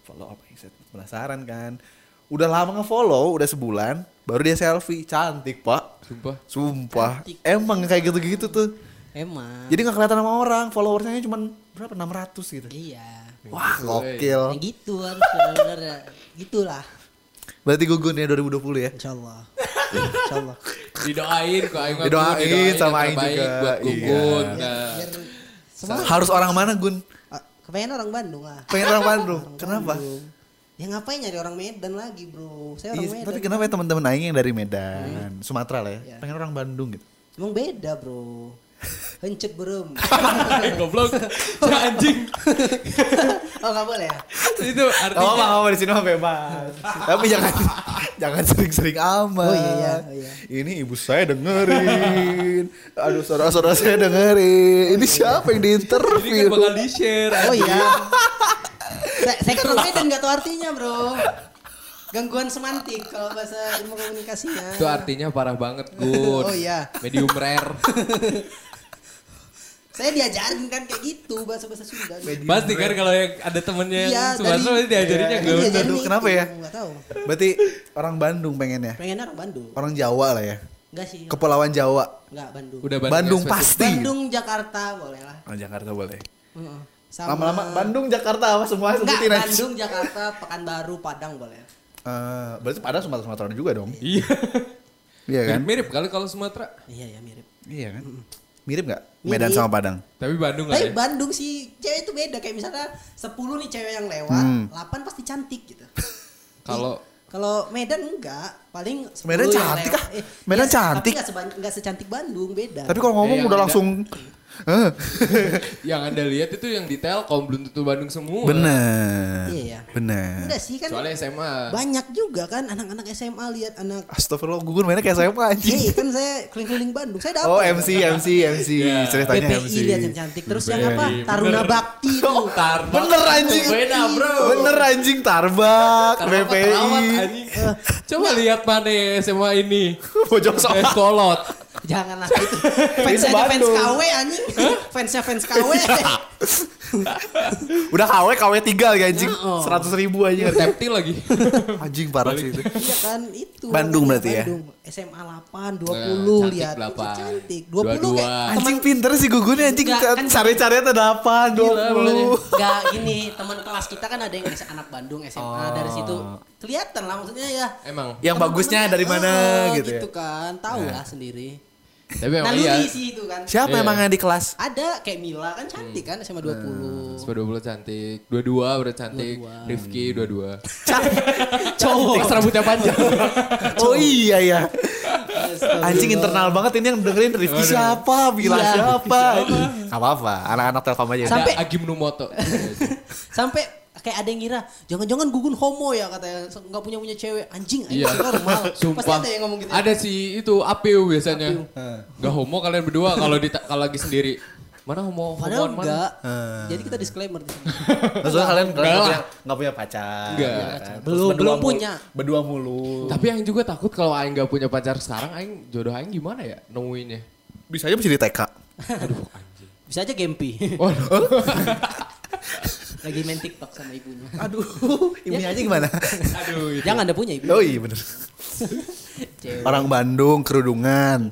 S1: Follow apa Set. Penasaran kan. Udah lama nge-follow, udah sebulan, baru dia selfie. Cantik, Pak.
S2: Sumpah.
S1: Sumpah. Emang kayak gitu-gitu tuh.
S3: Emang.
S1: Jadi nggak kelihatan sama orang, followersnya cuma berapa 600 gitu.
S3: Iya.
S1: Wah,
S3: Ya
S1: gokil.
S3: gitu
S5: kan
S3: harus benar-benar ya. gitulah.
S1: Berarti gugun ya 2020 ya.
S3: Insyaallah. Insyaallah.
S2: Didoain kok Aing mah, Gun,
S1: Didoain sama Aing
S2: yang terbaik
S1: juga. Iya.
S2: buat Gugun. Nah,
S3: Biar
S1: Harus orang mana, Gun?
S3: Ah, kepengen orang Bandung lah.
S1: Pengen orang Bandung. Kenapa?
S3: Ya ngapain nyari orang Medan lagi, Bro? Saya orang
S1: Iya,
S3: Medan. Iya.
S1: tapi kenapa ya teman-teman Aing yang dari Medan, Sumatera lah ya, pengen orang Bandung gitu.
S3: Emang beda, Bro. Hencet berem.
S2: Eh, goblok. Ya, anjing.
S3: oh, nggak boleh ya?
S2: Itu
S1: Gak apa-apa, gak
S2: artinya
S1: apa-apa, di sini mah bebas. Tapi jangan jangan sering-sering amat.
S3: Oh iya, iya, oh iya.
S1: Ini ibu saya dengerin. Aduh, saudara-saudara saya dengerin. Ini siapa yang
S2: ini kan
S1: diinterview?
S2: bakal di-share.
S3: Oh iya. saya, saya ke orang Medan nggak tahu artinya, Bro. Gangguan semantik kalau bahasa ilmu komunikasinya.
S2: Itu artinya parah banget, Gun.
S3: Oh, iya.
S2: Medium rare.
S3: Saya diajarin kan kayak gitu bahasa-bahasa Sunda.
S2: Pasti kan kalau yang ada temennya yang
S3: Iya,
S2: Sumatera
S3: dari-
S2: pasti diajarinnya
S3: Iya,
S2: Gun.
S3: diajarinnya
S1: Aduh, kenapa
S3: itu,
S1: ya?
S3: Nggak tahu.
S1: Berarti orang Bandung pengennya.
S3: Pengennya orang Bandung.
S1: Orang Jawa lah ya.
S3: Enggak sih.
S1: Kepulauan Jawa.
S3: Enggak Iya, Bandung.
S2: Udah
S1: Bandung
S2: yang spesifik.
S1: pasti.
S3: Bandung, Jakarta boleh lah.
S1: Oh, Jakarta boleh.
S3: Heeh. Sama-
S1: Lama-lama Bandung, Jakarta apa semua
S3: Enggak,
S1: sebutin aja.
S3: Bandung, Jakarta, Pekanbaru, Padang boleh.
S1: Eh, berarti pada Sumatera Sumatera juga dong.
S2: Iya.
S1: Iya kan?
S2: Mirip kali kalau Sumatera.
S3: Iya ya mirip.
S1: Iya kan? Mirip nggak Medan sama Padang?
S2: Tapi Bandung lah ya.
S3: Tapi Bandung sih cewek itu beda kayak misalnya 10 nih cewek yang lewat,
S1: Hmm.
S3: 8 pasti cantik gitu.
S2: Kalau
S3: Kalau Medan enggak, paling 10
S1: Medan
S3: yang
S1: cantik
S3: lewat.
S1: ah. Medan
S3: iya,
S1: cantik.
S3: Tapi enggak, seban- enggak secantik Bandung, beda.
S1: Tapi kalau ngomong
S3: Iya,
S2: yang
S1: udah
S2: ada.
S1: langsung eh,
S2: yang Anda lihat itu yang di Telkom belum tentu Bandung semua.
S1: bener.
S3: Iya, iya.
S1: Bener.
S3: Udah sih kan
S2: Soalnya SMA.
S3: banyak juga kan anak-anak SMA lihat anak
S1: Astagfirullah, gugur mainnya kayak saya apa anjing.
S3: Iya kan saya keliling-keliling Bandung. Saya dapat.
S1: Oh MC, MC, MC.
S2: Iya.
S1: Ceritanya MC.
S3: PPI lihat yang cantik. Terus yang
S1: Iya,
S3: apa?
S1: iya.
S3: Taruna Bakti itu.
S2: Tarno.
S1: Bener anjing.
S2: Beda bro.
S1: Bener anjing Tarbak,
S2: Tarno mah terawat,
S1: BPI.
S2: anjing. Coba lihat mana SMA ini.
S1: Pojok
S2: Eh,
S1: soal.
S2: kolot.
S3: Janganlah itu. Fansnya aja fans
S1: Bandung. Iya.
S3: KW anjing. Fansnya fans KW.
S1: Udah KW, KW tiga lagi anjing. Seratus ribu anjing.
S2: Terteptil lagi.
S1: Anjing parah sih itu.
S3: Iya kan itu. Eh,
S1: Bandung berarti ya?
S3: Bandung. SMA
S2: cantik
S3: 8, 20 lihat. Itu
S2: 8.
S3: Cantik. 20 kayak
S2: 22.
S1: Anjing pinter sih gugunya anjing.
S3: Enggak, kan-
S1: Cari-cari ada apa?
S2: Gila, mulanya.
S1: 20.
S3: Gak gini, teman kelas kita kan ada yang anak Bandung SMA dari situ. Kelihatan lah maksudnya ya.
S2: Emang.
S1: Oh. Yang bagusnya dari mana
S3: Eh,
S1: gitu ya.
S3: kan, tahu lah sendiri.
S2: Tapi
S3: Nah,
S2: emang iya.
S3: sih itu kan.
S1: Siapa Hmm.
S2: Iya.
S1: emang yang di kelas?
S3: Ada kayak Mila kan cantik kan SMA 20.
S1: Hmm.
S2: Sepa 20 cantik, 22 udah cantik, Rifki 22.
S3: Hmm. Cowok.
S2: Pas rambutnya panjang.
S1: Oh iya ya. Anjing internal banget ini yang dengerin Rifki siapa, Bila
S3: Iya.
S1: siapa. Gak apa-apa, anak-anak telkom aja.
S3: Sam- Sampai-
S2: Ada Agim Numoto.
S3: Sampai kayak ada yang ngira, jangan-jangan Gugun homo ya katanya, So- nggak punya punya cewek, anjing, anjing
S2: Iya.
S3: normal. Pasti
S2: Sumpah.
S3: ada yang ngomong gitu.
S2: Ada sih itu Apeu biasanya. Gak homo kalian berdua kalau di kalau lagi sendiri. Mana homo
S3: Padahal
S2: homoan mana?
S3: enggak.
S1: Ah.
S3: Jadi kita disclaimer di sini.
S1: Maksudnya kalian kalian gak
S2: Enggak lah.
S1: punya, gak punya pacar.
S2: Enggak.
S1: ya kan? Terus
S3: Belum-
S1: berdua
S3: belum
S1: mulu-
S3: punya.
S1: Berdua mulu.
S2: Tapi yang juga takut kalau aing gak punya pacar sekarang aing jodoh aing gimana ya nemuinnya?
S1: Bisa aja masih di TK.
S3: Bisa aja Gempi
S2: Waduh.
S3: lagi main TikTok sama ibunya.
S1: Aduh, ibunya
S3: Iya.
S1: aja gimana?
S2: Aduh. itu.
S3: Jangan ada punya ibu.
S1: Oh iya bener.
S3: Cewek
S1: Orang Bandung, kerudungan.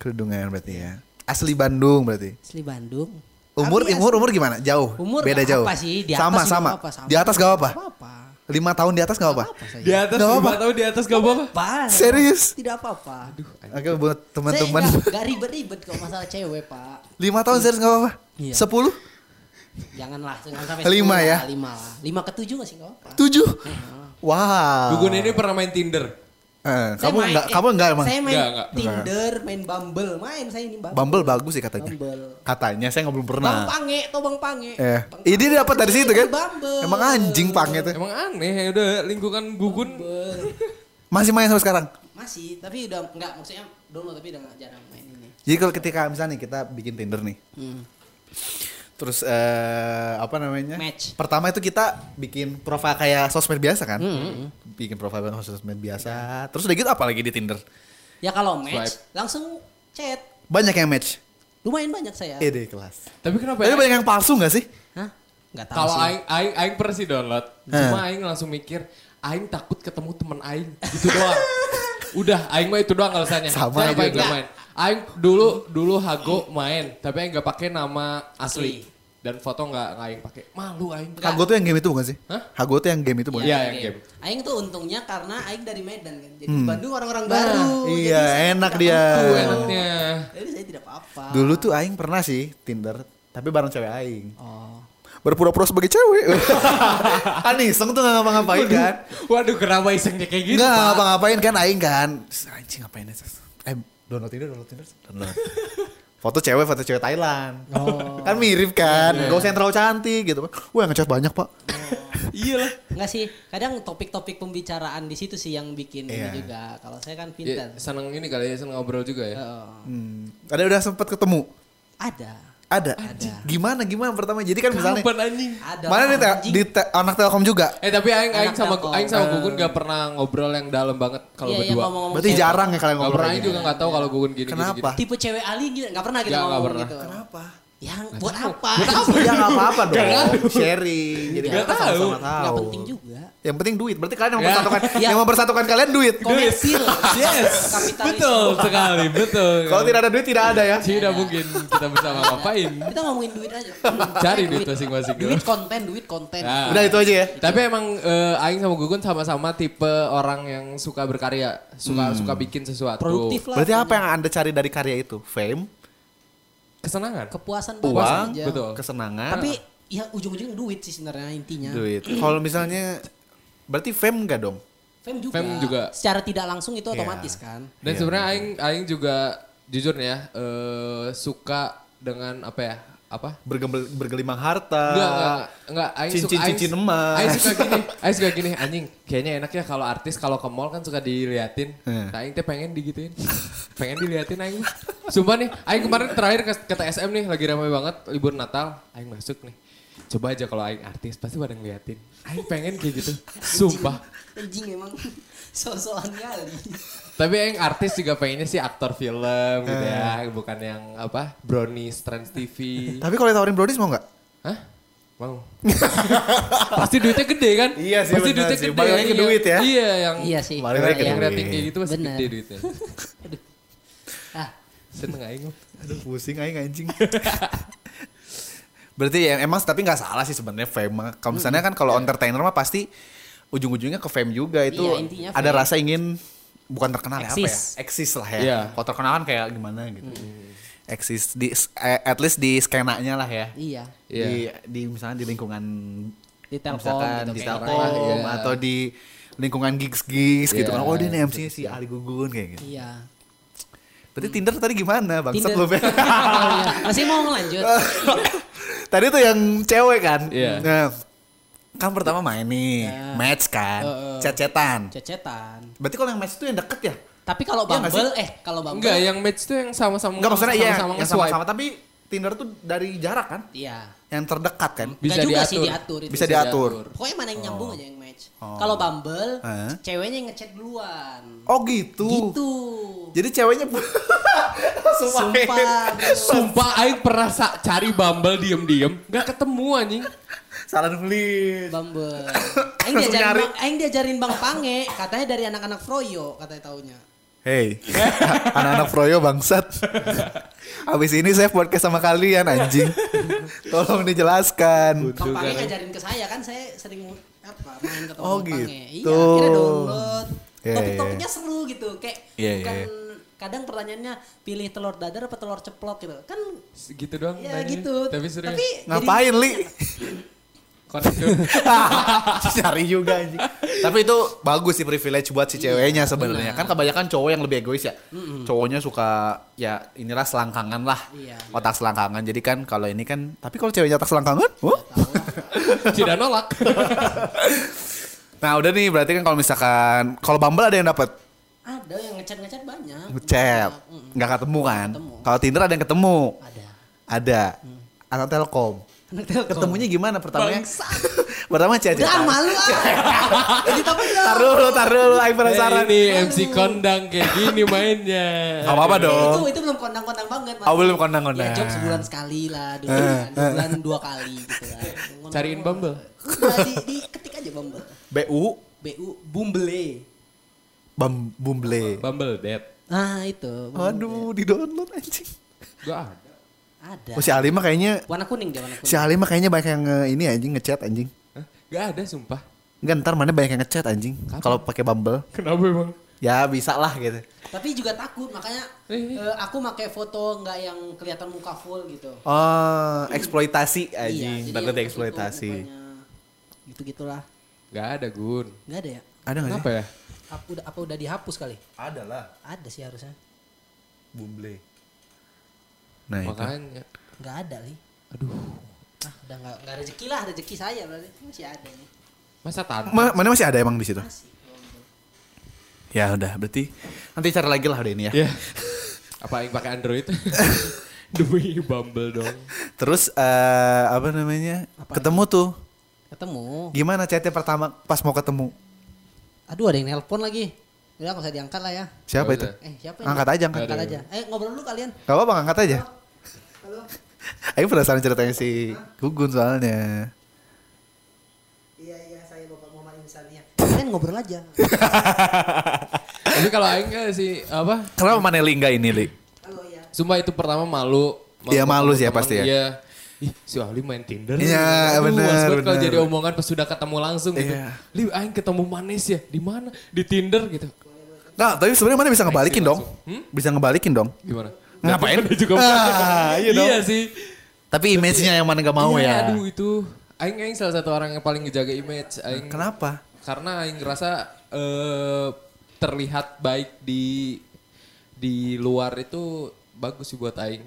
S1: Kerudungan berarti ya. Asli Bandung berarti.
S3: asli Bandung.
S1: Umur,
S3: Tapi
S1: umur, umur gimana? Jauh.
S3: Umur
S1: Beda
S3: nggak
S1: jauh.
S3: apa sih, di atas
S1: sama,
S3: juga
S1: sama.
S3: nggak apa, sama.
S1: Di atas gak apa-apa.
S3: asli apa?
S1: Lima tahun di atas gak apa-apa.
S2: Di atas
S1: Gak
S2: gak
S1: apa-apa.
S2: tahu di atas gak apa-apa.
S3: Apa?
S1: Serius?
S3: Tidak apa-apa. Aduh,
S1: Oke buat teman-teman.
S3: Gak ribet-ribet kok masalah cewek, Pak.
S1: Lima tahun serius nggak apa-apa.
S3: Iya.
S1: Sepuluh,
S3: Janganlah, jangan sampai
S1: Lima
S3: sepuluh
S1: ya?
S3: lah, Lima lah. Lima ke tujuh gak sih gak apa.
S1: tujuh.
S3: Iya. Ah.
S1: Wow.
S2: Dugun ini pernah main Tinder.
S1: Eh,
S3: Saya
S1: kamu
S3: main-
S1: enggak,
S3: eh,
S1: kamu enggak emang.
S3: Saya main
S2: Enggak, enggak.
S3: Tinder, main Bumble, main saya ini Bumble.
S1: Bumble bagus sih katanya.
S3: Bumble.
S1: Katanya saya nggak belum
S3: Bang
S1: pernah.
S3: Pange, tau Bang Pange.
S1: Eh,
S3: Bang
S1: ini dia dapat dari situ kan?
S3: Bumble.
S1: Emang anjing pange tuh.
S2: Emang aneh ya udah lingkungan gugun.
S1: Masih main sampai sekarang.
S3: Masih, tapi udah enggak maksudnya dulu tapi udah enggak jarang main ini.
S1: Jadi kalau ketika misalnya nih kita bikin Tinder nih.
S2: Hmm.
S1: Terus eh apa namanya?
S3: Match.
S1: Pertama itu kita bikin profil kayak sosmed biasa kan?
S3: Hmm,
S1: Bikin profil sosmed biasa. Terus udah gitu apalagi di Tinder?
S3: Ya kalau match langsung chat.
S1: Banyak yang match.
S3: Lumayan banyak saya.
S1: Eh deh kelas.
S2: Tapi kenapa
S1: Tapi
S2: ya?
S1: banyak yang palsu gak sih?
S3: Hah? Nggak tahu
S2: Kalau
S3: sih.
S2: aing aing aing pernah sih download. Cuma aing langsung mikir aing takut ketemu teman aing gitu doang. Udah, aing mah itu doang alasannya.
S1: Sama aja
S2: Kenapa aing nggak main. Aing dulu dulu Hago main, tapi aing nggak pakai nama
S3: Iya.
S2: asli dan foto nggak nggak aing pakai. Malu aing.
S1: Hago tuh yang game itu bukan sih?
S2: Hah?
S1: Hago tuh yang game itu bukan?
S2: Iya,
S3: Oke.
S2: yang game.
S3: Aing tuh untungnya karena Aing dari Medan kan. Jadi Bandung orang-orang baru.
S1: Hmm. Iya,
S3: Jadi saya
S1: enak
S3: tidak
S1: dia.
S2: Tuh
S3: apa-apa.
S2: enaknya.
S3: Jadi saya tidak apa-apa.
S1: Dulu tuh Aing pernah sih Tinder, tapi bareng cewek Aing.
S3: Oh.
S1: Berpura-pura sebagai cewek. kan iseng tuh gak ngapa-ngapain kan.
S2: Waduh, kenapa isengnya kayak gitu?
S1: Gak
S2: Pak?
S1: ngapa-ngapain kan Aing kan. Terus, Anjing ngapain aja. Eh download Tinder, download Tinder. Download. foto cewek, foto cewek Thailand. kan mirip kan. Gak usah yang terlalu cantik gitu kan. Wah ngecat banyak pak.
S2: Iya lah.
S3: Enggak sih, kadang topik-topik pembicaraan di situ sih yang bikin ini
S1: Iya.
S3: juga. Kalau saya kan
S2: Ya,
S3: pintar. Eh,
S2: seneng ini kali ya, seneng ngobrol juga ya.
S1: Hmm. Ada udah sempat ketemu?
S3: Ada.
S1: Ada. Gimana gimana pertama. Jadi kan misalnya.
S2: Kapan anjing?
S3: Ada.
S1: Mana di, te-
S3: anjing.
S1: di te- anak Telkom juga?
S2: Eh tapi aing aing
S3: Anak
S2: sama
S3: Telkom.
S2: aing
S1: Eh.
S2: sama Gugun gak pernah ngobrol yang dalam banget kalau
S3: Iya, iya,
S2: berdua.
S3: ngomong-ngomong.
S1: Berarti jarang ya kalian
S2: Gak
S1: ngobrol.
S2: pernah
S1: kayak
S2: aing juga
S1: gini.
S2: gak tahu kalau Gugun gini gini,
S1: Kenapa?
S2: gini.
S3: Tipe cewek Ali gitu nggak pernah kita
S2: Nggak, nggak
S3: ngomong
S2: pernah.
S3: gitu.
S1: Kenapa?
S3: Yang buat apa? Iya,
S1: Ya nggak apa-apa dong. Sharing. Jadi
S2: Nggak
S1: kita
S2: tahu.
S1: sama-sama
S3: Nggak
S1: tahu.
S3: penting juga.
S1: Yang penting duit. Berarti kalian yang
S2: Ya.
S1: mempersatukan yang mempersatukan kalian duit.
S3: Komersil.
S2: Yes.
S3: Kapitalisme.
S2: betul sekali, betul.
S1: Kalau tidak ada duit tidak ada ya.
S2: tidak mungkin kita bersama ngapain.
S3: Kita ngomongin duit aja.
S2: Cari duit masing-masing dulu.
S3: Duit konten, duit konten.
S2: Nah.
S1: Udah itu aja ya.
S2: Tapi emang eh, aing sama Gugun sama-sama tipe orang yang suka berkarya, suka suka bikin sesuatu.
S3: Produktif lah.
S1: Berarti apa yang Anda cari dari karya itu? Fame,
S2: Kesenangan.
S3: Kepuasan
S1: uang,
S3: aja.
S2: betul.
S1: kesenangan,
S3: Tapi ya ujung-ujungnya duit sih sebenarnya intinya.
S1: duit. Kalau misalnya berarti fame enggak dong?
S3: Fame juga.
S2: Fame juga.
S3: Secara tidak langsung
S1: Iya.
S3: itu otomatis kan.
S2: Dan sebenarnya aing aing juga jujur nih ya eh, suka dengan apa ya? Apa?
S1: Bergembel, bergelimang harta.
S2: Enggak, enggak, enggak. Aing suka-
S1: Cincin-cincin
S2: Aing-
S1: emas.
S2: Aing suka gini, Aing suka gini, anjing. Kayaknya enak ya kalau artis kalau ke mall kan suka diliatin.
S1: Hmm.
S2: Nah, Aing teh pengen digituin. pengen diliatin Aing. Sumpah nih, Aing kemarin terakhir ke, ke TSM nih, lagi ramai banget, libur Natal. Aing masuk nih. Coba aja kalau Aing artis, pasti pada ngeliatin. Aing pengen kayak gitu, sumpah.
S3: Anjing memang sosokan kali.
S2: Tapi Aing artis juga pengennya sih aktor film gitu
S1: Eh.
S2: ya. Bukan yang apa, brownies, trans TV.
S1: Tapi kalau ditawarin brownies mau nggak?
S2: Hah? Mau. pasti duitnya gede kan?
S1: Iya sih,
S2: Pasti
S1: benar
S2: duitnya
S1: sih.
S2: gede.
S1: Balik lagi ke
S2: iya.
S1: duit ya.
S2: Iya yang
S3: Iya sih.
S1: Balik lagi ke
S2: yang
S1: duit.
S2: rating kayak gitu pasti
S3: Benar.
S2: gede duitnya.
S3: Aduh. Ah,
S2: Seneng aing.
S1: Aduh pusing aing anjing. Berarti ya emang tapi nggak salah sih sebenarnya fame. mah. Kalau misalnya kan kalau entertainer mah pasti ujung-ujungnya ke fame juga itu
S3: Iya, intinya
S1: ada
S3: fame.
S1: rasa ingin bukan terkenal ya, apa ya?
S3: Eksis. Hmm.
S1: Eksis lah ya.
S2: Iya.
S1: Kalau terkenal kan kayak gimana gitu. Eksis di eh, at least di skenanya lah ya.
S3: iya.
S2: Iya.
S1: Di di misalnya di lingkungan
S3: Di Telkom
S1: misalkan
S3: gitu
S1: di
S3: kayak
S1: Telkom
S2: orang lah, iya.
S1: atau di lingkungan gigs-gigs gitu kan.
S2: Iya,
S1: Oh, dia nih MC-nya si Ali Gugun kayak gitu.
S3: Iya.
S1: Berarti Tinder tadi gimana, Bang?
S3: Hmm. Tinder.
S1: Sebelumnya.
S3: Oh, iya. Masih mau lanjut.
S1: Ah. Tadi tuh yang cewek kan.
S2: Iya.
S1: Nah, kan pertama main nih, match kan,
S3: Heeh.
S1: cecetan.
S3: Cecetan.
S1: Berarti kalau yang match itu yang deket ya?
S3: Tapi kalau
S1: Iya nggak
S3: Bumble eh kalau Bumble
S2: Enggak, iya. yang match tuh yang sama-sama
S1: Enggak maksudnya iya,
S2: sama-sama
S1: yang
S2: nge-swipe.
S1: sama-sama tapi Tinder tuh dari jarak kan,
S3: iya.
S1: yang terdekat kan.
S2: Bisa
S3: Nggak juga
S2: diatur.
S3: sih diatur itu.
S1: Bisa diatur.
S3: Pokoknya mana yang nyambung aja yang match. Kalau Bumble,
S1: Eh.
S3: ceweknya yang ngechat duluan.
S1: Oh gitu.
S3: Gitu.
S1: Jadi ceweknya Sumpah.
S3: Sumpah. bro.
S2: Sumpah aing pernah sa- cari Bumble diem-diem, enggak ketemu anjing.
S1: Salah nulis.
S3: Bumble. Aing
S1: Langsung
S3: diajarin
S1: nyari.
S3: Bang, aing diajarin Bang Pange, katanya dari anak-anak Froyo katanya taunya.
S1: Hey, anak-anak Froyo bangsat. Abis ini saya podcast sama kalian anjing. Tolong dijelaskan.
S3: Bang
S2: Tuh,
S3: Pange
S2: kan.
S3: ngajarin ke saya kan saya sering apa main ketemu
S1: Oh,
S3: Bang
S1: gitu.
S3: Pange. Iya, akhirnya download.
S1: Iya, iya.
S3: Topik-topiknya seru gitu, kayak
S1: Iya,
S3: bukan
S1: iya.
S3: kadang pertanyaannya pilih telur dadar apa telur ceplok gitu. Kan
S2: Gitu doang
S3: ya
S2: nanya.
S3: gitu.
S2: Tapi serius.
S3: jadi-
S1: Ngapain, Li?
S2: Connection.
S1: Cari juga anjing. Tapi itu bagus sih privilege buat si
S3: Iya.
S1: ceweknya sebenarnya. Kan kebanyakan cowok yang lebih egois ya. Cowoknya suka ya inilah selangkangan lah.
S3: Iya.
S1: Otak selangkangan. Jadi kan kalau ini kan tapi kalau ceweknya otak selangkangan,
S3: Iya,
S1: huh?
S2: Tidak nolak.
S1: Nah, udah nih berarti kan kalau misalkan kalau Bumble ada yang dapat
S3: Ada yang ngechat-ngechat banyak.
S1: ngechat, nggak ketemu kan?
S3: Ketemu.
S1: Kalau Tinder ada yang ketemu.
S3: Ada. Mm.
S1: Ada. Anak Telkom.
S3: Anak Telkom.
S1: Ketemunya gimana pertamanya?
S3: Bangsat.
S1: Pertama Cia Cia.
S3: Udah malu ah. Jadi tapi
S1: Tar dulu, tar dulu. Aing
S3: Nah,
S1: penasaran.
S2: ini MC kondang kayak gini mainnya.
S1: Gak apa-apa
S3: Nah, itu
S1: dong.
S3: itu belum kondang-kondang banget. Mas.
S1: Oh, belum
S3: Ya
S1: kondang-kondang. Eh,
S3: job sebulan sekali lah, dua bulan, dua bulan dua kali gitu lah.
S2: Cariin Bumble.
S3: Nah, di, di ketik aja Bumble.
S1: BU
S3: BU Bumble.
S1: Bam Bumble.
S2: Bumble Dad.
S3: Ah itu. Bumble.
S1: Aduh, di download anjing.
S2: Gak ada.
S3: Ada.
S1: Oh, si Ali mah kayaknya
S3: Warna kuning dia warna
S1: si
S3: kuning.
S1: Ali mah kayaknya banyak yang eh, ini anjing ngechat anjing.
S2: Hah? Gak ada sumpah.
S1: Enggak ntar mana banyak yang ngechat anjing kalau pakai Bumble.
S2: Kenapa emang?
S1: Ya bisa lah gitu.
S3: Tapi juga takut makanya
S2: Eh, eh.
S3: eh, aku pakai foto nggak yang kelihatan muka full gitu. Iya,
S1: Oh, eksploitasi anjing.
S3: jadi
S1: Takut
S3: yang
S1: eksploitasi.
S3: gitu mukanya. Gitu-gitulah.
S2: Gak ada Gun.
S3: Nggak ada ya?
S1: Ada enggak
S2: Kenapa
S1: sih?
S2: ya?
S3: Apa udah, apa udah dihapus kali?
S1: Ada lah,
S3: Ada sih harusnya.
S1: Bumble. Nah, itu.
S2: Makanya.
S3: Nggak ada li. Aduh. Ah udah nggak nggak rezeki lah rezeki saya berarti masih ada nih.
S2: Masa tante?
S1: Ma- mana masih ada emang di situ? Ya udah, berarti nanti cari lagi lah udah ini ya.
S2: Ya. Apa yang pakai Android? Demi Bumble dong.
S1: Terus eh, apa namanya? ketemu tuh.
S3: Ketemu.
S1: Gimana chatnya pertama pas mau ketemu?
S3: Aduh ada yang nelpon lagi. Udah nggak usah diangkat lah ya.
S1: Siapa
S2: Gak
S1: itu?
S2: usah.
S3: Eh siapa ini?
S1: Angkat aja, angkat.
S3: Angkat aja. Eh ngobrol dulu kalian.
S1: Gak apa-apa, angkat aja. Ayo penasaran ceritanya si Gugun soalnya.
S3: Iya iya saya Bapak Muhammad Insania. Kalian ngobrol aja.
S2: Tapi kalau Aing nggak sih apa?
S1: Kenapa Maneli enggak ini, Li?
S3: Halo ya.
S2: Sumpah itu pertama malu.
S1: Iya, malu sih ya
S2: temen,
S1: pasti ya.
S2: Iya. Ih, si Wahli main Tinder.
S1: Iya,
S2: Aduh,
S1: benar,
S2: mas banget Kalau
S1: benar.
S2: jadi omongan pas sudah ketemu langsung gitu.
S1: Iya.
S2: Li, aing ketemu Manes ya? Di mana? Di Tinder gitu.
S1: Nah, tapi sebenarnya mana bisa ngebalikin dong? Bisa ngebalikin dong.
S2: Gimana?
S1: Ngapain?
S2: Dia juga
S1: Ah, iya dong.
S2: sih.
S1: Tapi image-nya yang mana gak mau
S2: Iya,
S1: ya.
S2: Aduh, itu aing aing salah satu orang yang paling ngejaga image aing.
S1: Kenapa?
S2: Karena aing ngerasa eh, terlihat baik di di luar itu bagus sih buat aing.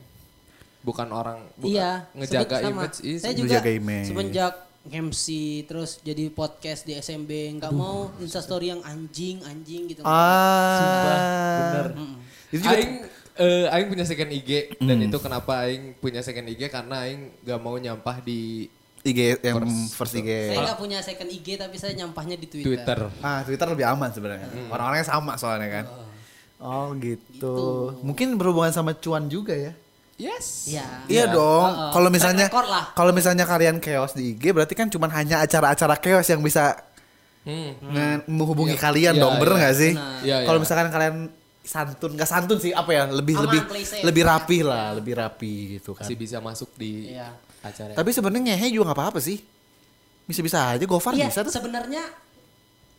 S2: Bukan orang bukan
S3: Iya.
S2: ngejaga
S3: sama.
S2: image Iya, is
S3: Saya juga
S1: Ngejaga image.
S3: semenjak MC terus jadi podcast di SMB nggak mau instastory yang anjing anjing gitu.
S1: Ah. Itu juga Hmm.
S2: Aing eh, aing punya second IG dan itu kenapa aing punya second IG karena aing gak mau nyampah di
S1: IG yang first IG.
S3: Saya nggak punya second IG tapi saya nyampahnya di Twitter.
S2: Twitter.
S1: Ah, Twitter lebih aman sebenarnya. Orang-orangnya sama soalnya kan. Oh, gitu. Mungkin berhubungan sama cuan juga ya.
S2: Yes.
S3: Iya.
S1: Iya dong.
S3: Uh-uh.
S1: Kalau misalnya
S3: Track record lah.
S1: kalau misalnya kalian chaos di IG berarti kan cuman hanya acara-acara chaos yang bisa
S2: Hmm.
S1: nge- menghubungi kalian
S2: Iya,
S1: dong, bener
S2: iya.
S1: nggak sih?
S2: Benar. Iya,
S1: Kalau
S2: iya.
S1: misalkan kalian santun, nggak santun sih apa ya? Lebih
S3: Aman,
S1: lebih
S3: play safe.
S1: lebih rapi lah, lebih rapi gitu kan.
S2: Masih bisa masuk di
S3: Iya.
S2: acara.
S1: Tapi sebenarnya ngehe juga nggak apa-apa sih. Bisa-bisa aja Gofar
S3: Iya,
S1: bisa tuh.
S3: sebenarnya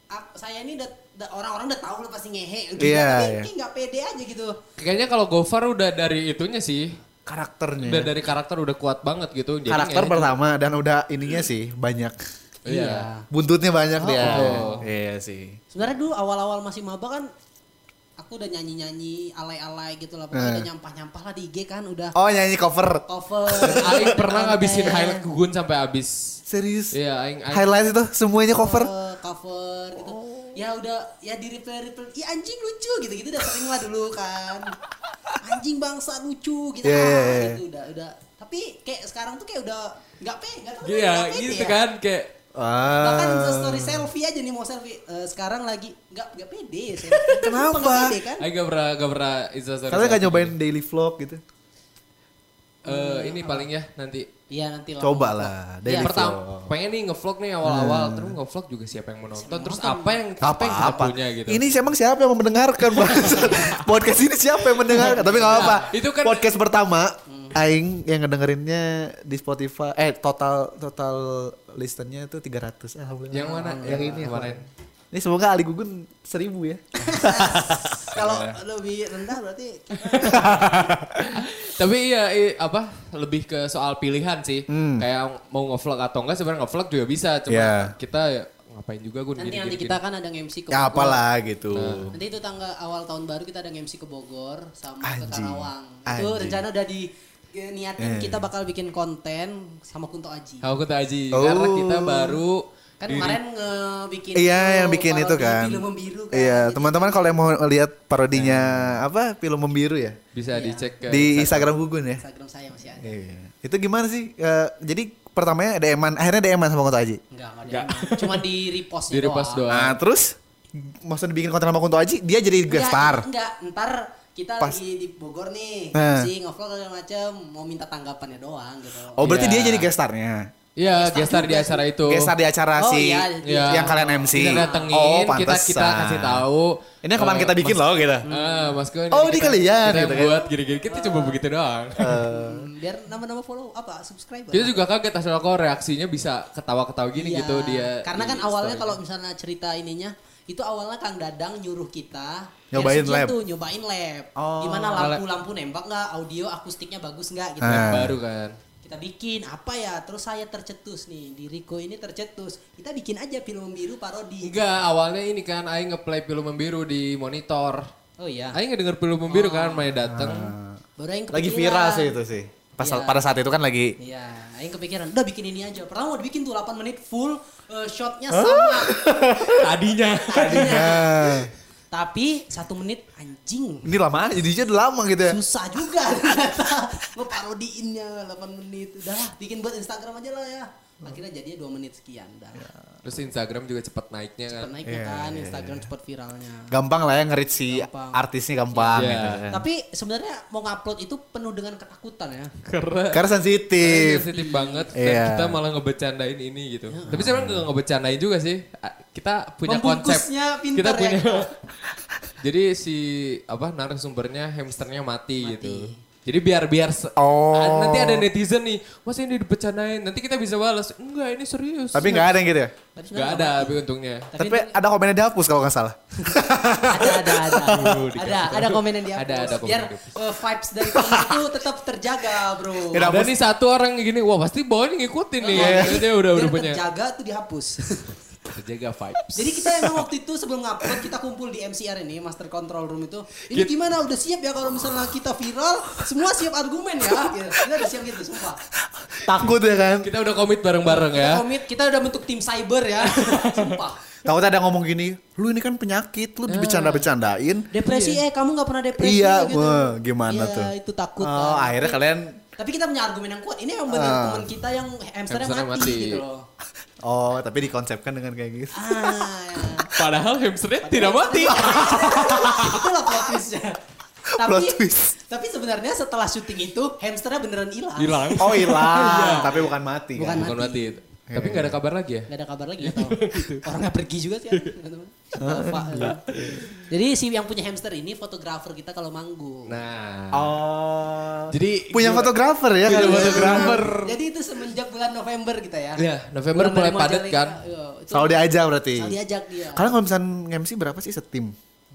S3: a- saya ini udah udah- orang-orang udah tahu lah pasti ngehe gitu.
S1: Iya,
S3: tapi
S1: iya.
S3: kayak nggak pede aja gitu.
S2: Kayaknya kalau Gofar udah dari itunya sih,
S1: Karakternya.
S2: udah dari karakter udah kuat banget gitu. Jadi
S1: Karakter
S2: kayaknya-
S1: pertama dan udah ininya sih banyak.
S2: Iya.
S1: Buntutnya banyak dia.
S2: Oh.
S1: Iya sih.
S3: Sebenarnya dulu awal-awal masih maba kan aku udah nyanyi-nyanyi alay-alay gitu lah. Pokoknya
S1: Eh.
S3: udah nyampah-nyampah lah di IG kan udah
S1: Oh nyanyi cover.
S3: cover.
S2: Aing pernah
S3: konten,
S2: ngabisin
S1: ya.
S2: highlight gugun sampai habis.
S1: Serius.
S2: Iya, aing aing
S1: Highlights itu semuanya cover.
S3: eh, cover gitu. Ya udah ya di replay replay. Ya anjing lucu gitu gitu udah sering lah dulu kan. Anjing bangsa lucu gitu.
S1: Iya,
S3: Ah,
S1: iya, iya.
S3: gitu udah udah. Tapi kayak sekarang tuh kayak udah nggak pe, nggak tahu
S2: Iya,
S3: nggak pede
S2: gitu
S3: ya.
S2: kan kayak
S1: Ah.
S3: Bahkan story selfie aja nih mau selfie. Eh, sekarang lagi nggak nggak pede ya selfie.
S1: Kenapa?
S3: Nggak pede kan?
S2: aing gak pernah gak pernah instastory.
S1: Kalian gak
S2: selfie.
S1: nyobain daily vlog gitu?
S2: Eh, ini paling ya nanti.
S3: Iya nanti lah.
S1: Coba lah daily vlog.
S2: Yang pertama pengen nih ngevlog nih
S1: Hmm.
S2: awal-awal, terus ngevlog juga siapa yang mau nonton, terus apa yang
S1: Gak
S2: apa yang kita
S1: apa-apa.
S2: punya gitu.
S1: Ini emang siapa yang mau mendengarkan Bang? podcast ini siapa yang mendengarkan? Tapi gak apa-apa.
S2: Nah, itu kan-
S1: podcast pertama aing yang ngedengerinnya di Spotify eh total total listennya tuh 300. Alhamdulillah.
S2: Yang mana?
S1: Yang ini yang
S2: kemarin.
S1: Ini semoga Ali Gugun 1000 ya.
S3: Kalau lebih rendah berarti
S2: Tapi iya i- apa lebih ke soal pilihan sih. Kayak mau ngevlog atau enggak sebenarnya ngevlog juga bisa,
S1: Hmm.
S2: cuma
S1: Iya.
S2: kita ya, ngapain juga gue
S3: nanti nanti kita kan ada MC ke
S1: ya
S3: Bogor.
S1: apalah gitu.
S3: Nanti itu tanggal awal tahun baru kita ada MC ke Bogor sama
S1: Anjing.
S3: ke Karawang. Itu
S1: Anjing.
S3: rencana udah di eh, niatin kita bakal bikin konten sama Kunto Aji.
S2: Aku kita aji
S1: Oh.
S2: karena kita baru di-
S3: Kan kemarin ngebikin
S1: Iya yang bikin itu
S3: parodi
S1: kan.
S3: Film membiru kan.
S1: Iya teman-teman kalau yang mau lihat parodinya apa film membiru ya
S3: Iya.
S2: bisa dicek ke
S1: di Instagram Gugun ya.
S3: Instagram saya masih ada.
S1: Iya. Itu gimana sih? Eh, jadi pertamanya DM-an, akhirnya DM-an sama Kunto Aji.
S3: Enggak,
S2: Enggak.
S3: enggak. ada. Cuma di repost
S2: Di repost doang.
S1: Nah, terus maksudnya dibikin konten sama Kunto Aji, dia jadi
S3: Enggak,
S1: guest star.
S3: Iya, Enggak, ntar kita
S1: Pas-
S3: lagi di Bogor nih,
S1: Eh.
S3: sih ngevlog segala macam, mau minta tanggapannya doang gitu.
S1: Oh, berarti
S2: Iya.
S1: dia jadi guest star-nya.
S2: Iya, gestar di acara itu.
S1: Guest star di acara
S3: Oh,
S1: si
S3: iya,
S1: yang
S2: iya.
S1: kalian MC.
S2: Kita datengin, kita kita
S1: pantesan.
S2: kasih tahu.
S1: Ini kapan
S2: eh,
S1: kita bikin
S2: mas-
S1: loh gitu.
S3: Iya.
S2: Eh, mas
S1: Oh,
S2: Kun, ini
S1: ini
S2: kita-
S1: kalian,
S2: Kita
S1: gitu kan.
S2: yang
S1: Eh.
S2: buat gini-gini, kita coba begitu doang.
S3: Hmm, Biar nama-nama follow apa subscriber.
S2: Kita juga kaget asal kok reaksinya bisa ketawa-ketawa gini
S3: Iya,
S2: gitu dia.
S3: Karena
S2: di
S3: kan awalnya
S2: story.
S3: kalau misalnya cerita ininya itu awalnya Kang Dadang nyuruh kita
S1: Nyobain
S3: versi
S1: lab.
S3: gitu, nyobain lab.
S1: Oh.
S3: Gimana lampu-lampu nembak nggak, audio akustiknya bagus nggak gitu.
S1: Ah.
S2: baru kan.
S3: Kita bikin apa ya? Terus saya tercetus nih, di Riko ini tercetus. Kita bikin aja film biru parodi.
S2: Enggak, awalnya ini kan aing ngeplay film membiru di monitor.
S3: Oh iya. Oh.
S2: Aing ngedenger film membiru kan Maya dateng.
S1: Ah.
S3: Baru yang
S1: Lagi
S3: kepikiran.
S1: viral sih itu sih. Pas
S3: Iya.
S1: pada saat itu kan lagi
S3: Iya, aing kepikiran, udah bikin ini aja. Pertama mau dibikin tuh 8 menit full eh, shotnya sama.
S2: Tadinya.
S3: Iya.
S1: Nah,
S3: Tapi satu menit anjing.
S1: ini lama jadinya udah lama gitu ya.
S3: susah juga ternyata ngeparodiinnya 8 menit udahlah bikin buat Instagram aja lah ya akhirnya jadinya 2 menit sekian udah
S2: Terus Instagram juga cepet naiknya kan.
S3: cepet naiknya kan Instagram
S2: iya.
S3: cepet viralnya
S1: Gampang lah ya nge-reach si
S3: Gampang.
S1: artisnya gampang
S2: Iya.
S1: gitu kan.
S3: tapi sebenarnya mau ngupload itu penuh dengan ketakutan ya
S2: Karena
S1: Karena
S2: karena
S1: sensitif.
S2: sensitif banget
S1: Iya.
S2: dan kita malah ngebecandain ini gitu. Tapi sebenarnya nggak ngebecandain juga sih. A- Kita punya konsep.
S3: Membungkusnya pinter
S2: Kita
S3: ya.
S2: punya. Jadi si apa narasumbernya hamsternya mati, gitu. Jadi biar biar
S3: Iya.
S2: se-
S1: Oh.
S2: Ah, nanti ada netizen nih, mas ini dibecandain. Nanti kita bisa balas, enggak ini serius.
S1: Tapi nggak ada yang gitu ya.
S3: tapi
S2: Nggak
S3: sebenarnya
S2: ada tapi untungnya.
S3: Tapi
S1: Tapi ada komennya dihapus kalau nggak salah.
S3: ada ada ada
S2: dikasih
S3: ada
S2: tahu.
S3: ada komen yang dihapus
S2: Ada, ada komen
S3: biar
S2: yang dihapus.
S3: eh, vibes dari komen itu tetap terjaga bro
S1: Ya, Iya.
S2: Ada
S1: dihapus.
S2: nih satu orang yang gini, wah pasti bawahnya ngikutin nih.
S3: Jadi,
S2: Jadi Dia Iya, udah
S3: biar
S2: udah punya.
S3: terjaga tuh dihapus
S2: Jaga vibes.
S3: Jadi kita emang waktu itu sebelum ngupload kita kumpul di MCR ini Master Control Room itu. Ini gimana udah siap ya kalau misalnya kita viral, semua siap argumen ya. Gitu. Kita udah siap gitu sumpah.
S1: Takut ya kan.
S2: Kita udah komit bareng-bareng ya.
S3: Komit kita udah bentuk tim cyber ya. sumpah.
S1: Takut ada ngomong gini, lu ini kan penyakit,
S3: Ah.
S1: lu dibecanda-becandain.
S3: Depresi eh kamu nggak pernah depresi
S1: Iya,
S3: gitu.
S1: wah, gimana
S3: Iya,
S1: tuh?
S3: itu takut.
S1: Oh,
S3: kan.
S1: akhirnya kalian
S3: Tapi kita punya argumen yang kuat. Ini emang bener
S1: Ah.
S3: teman kita yang hamsternya mati,
S2: Hamsternya mati.
S3: gitu loh.
S1: Oh, tapi dikonsepkan dengan kayak gitu.
S3: Ah, ya.
S2: Padahal hamsternya tidak mati.
S3: Itulah plot twistnya. Tapi,
S1: Plot twist.
S3: tapi sebenarnya setelah syuting itu hamsternya beneran hilang.
S2: Hilang.
S1: Oh, hilang, tapi bukan mati.
S3: Iya. Bukan
S1: Kan?
S2: Bukan mati. Tapi nggak ada kabar lagi ya.
S3: Gak ada kabar lagi gak tau. Orangnya pergi juga sih.
S2: Iya.
S3: nggak tahu. Lupa. Jadi si yang punya hamster ini fotografer kita kalau manggung.
S2: Nah.
S1: Oh.
S2: Jadi
S1: punya
S3: Iya.
S2: gimana-
S1: fotografer ya
S2: Punya
S1: kali ya.
S2: fotografer.
S3: Nah, Jadi itu semenjak bulan November kita ya.
S2: Iya, November
S3: Bulan
S2: mulai
S3: Majalengka,
S2: padat kan.
S3: iya, itu
S1: Selalu diajak berarti.
S3: selalu diajak dia.
S1: Kalian kalau misalnya MC berapa sih setim?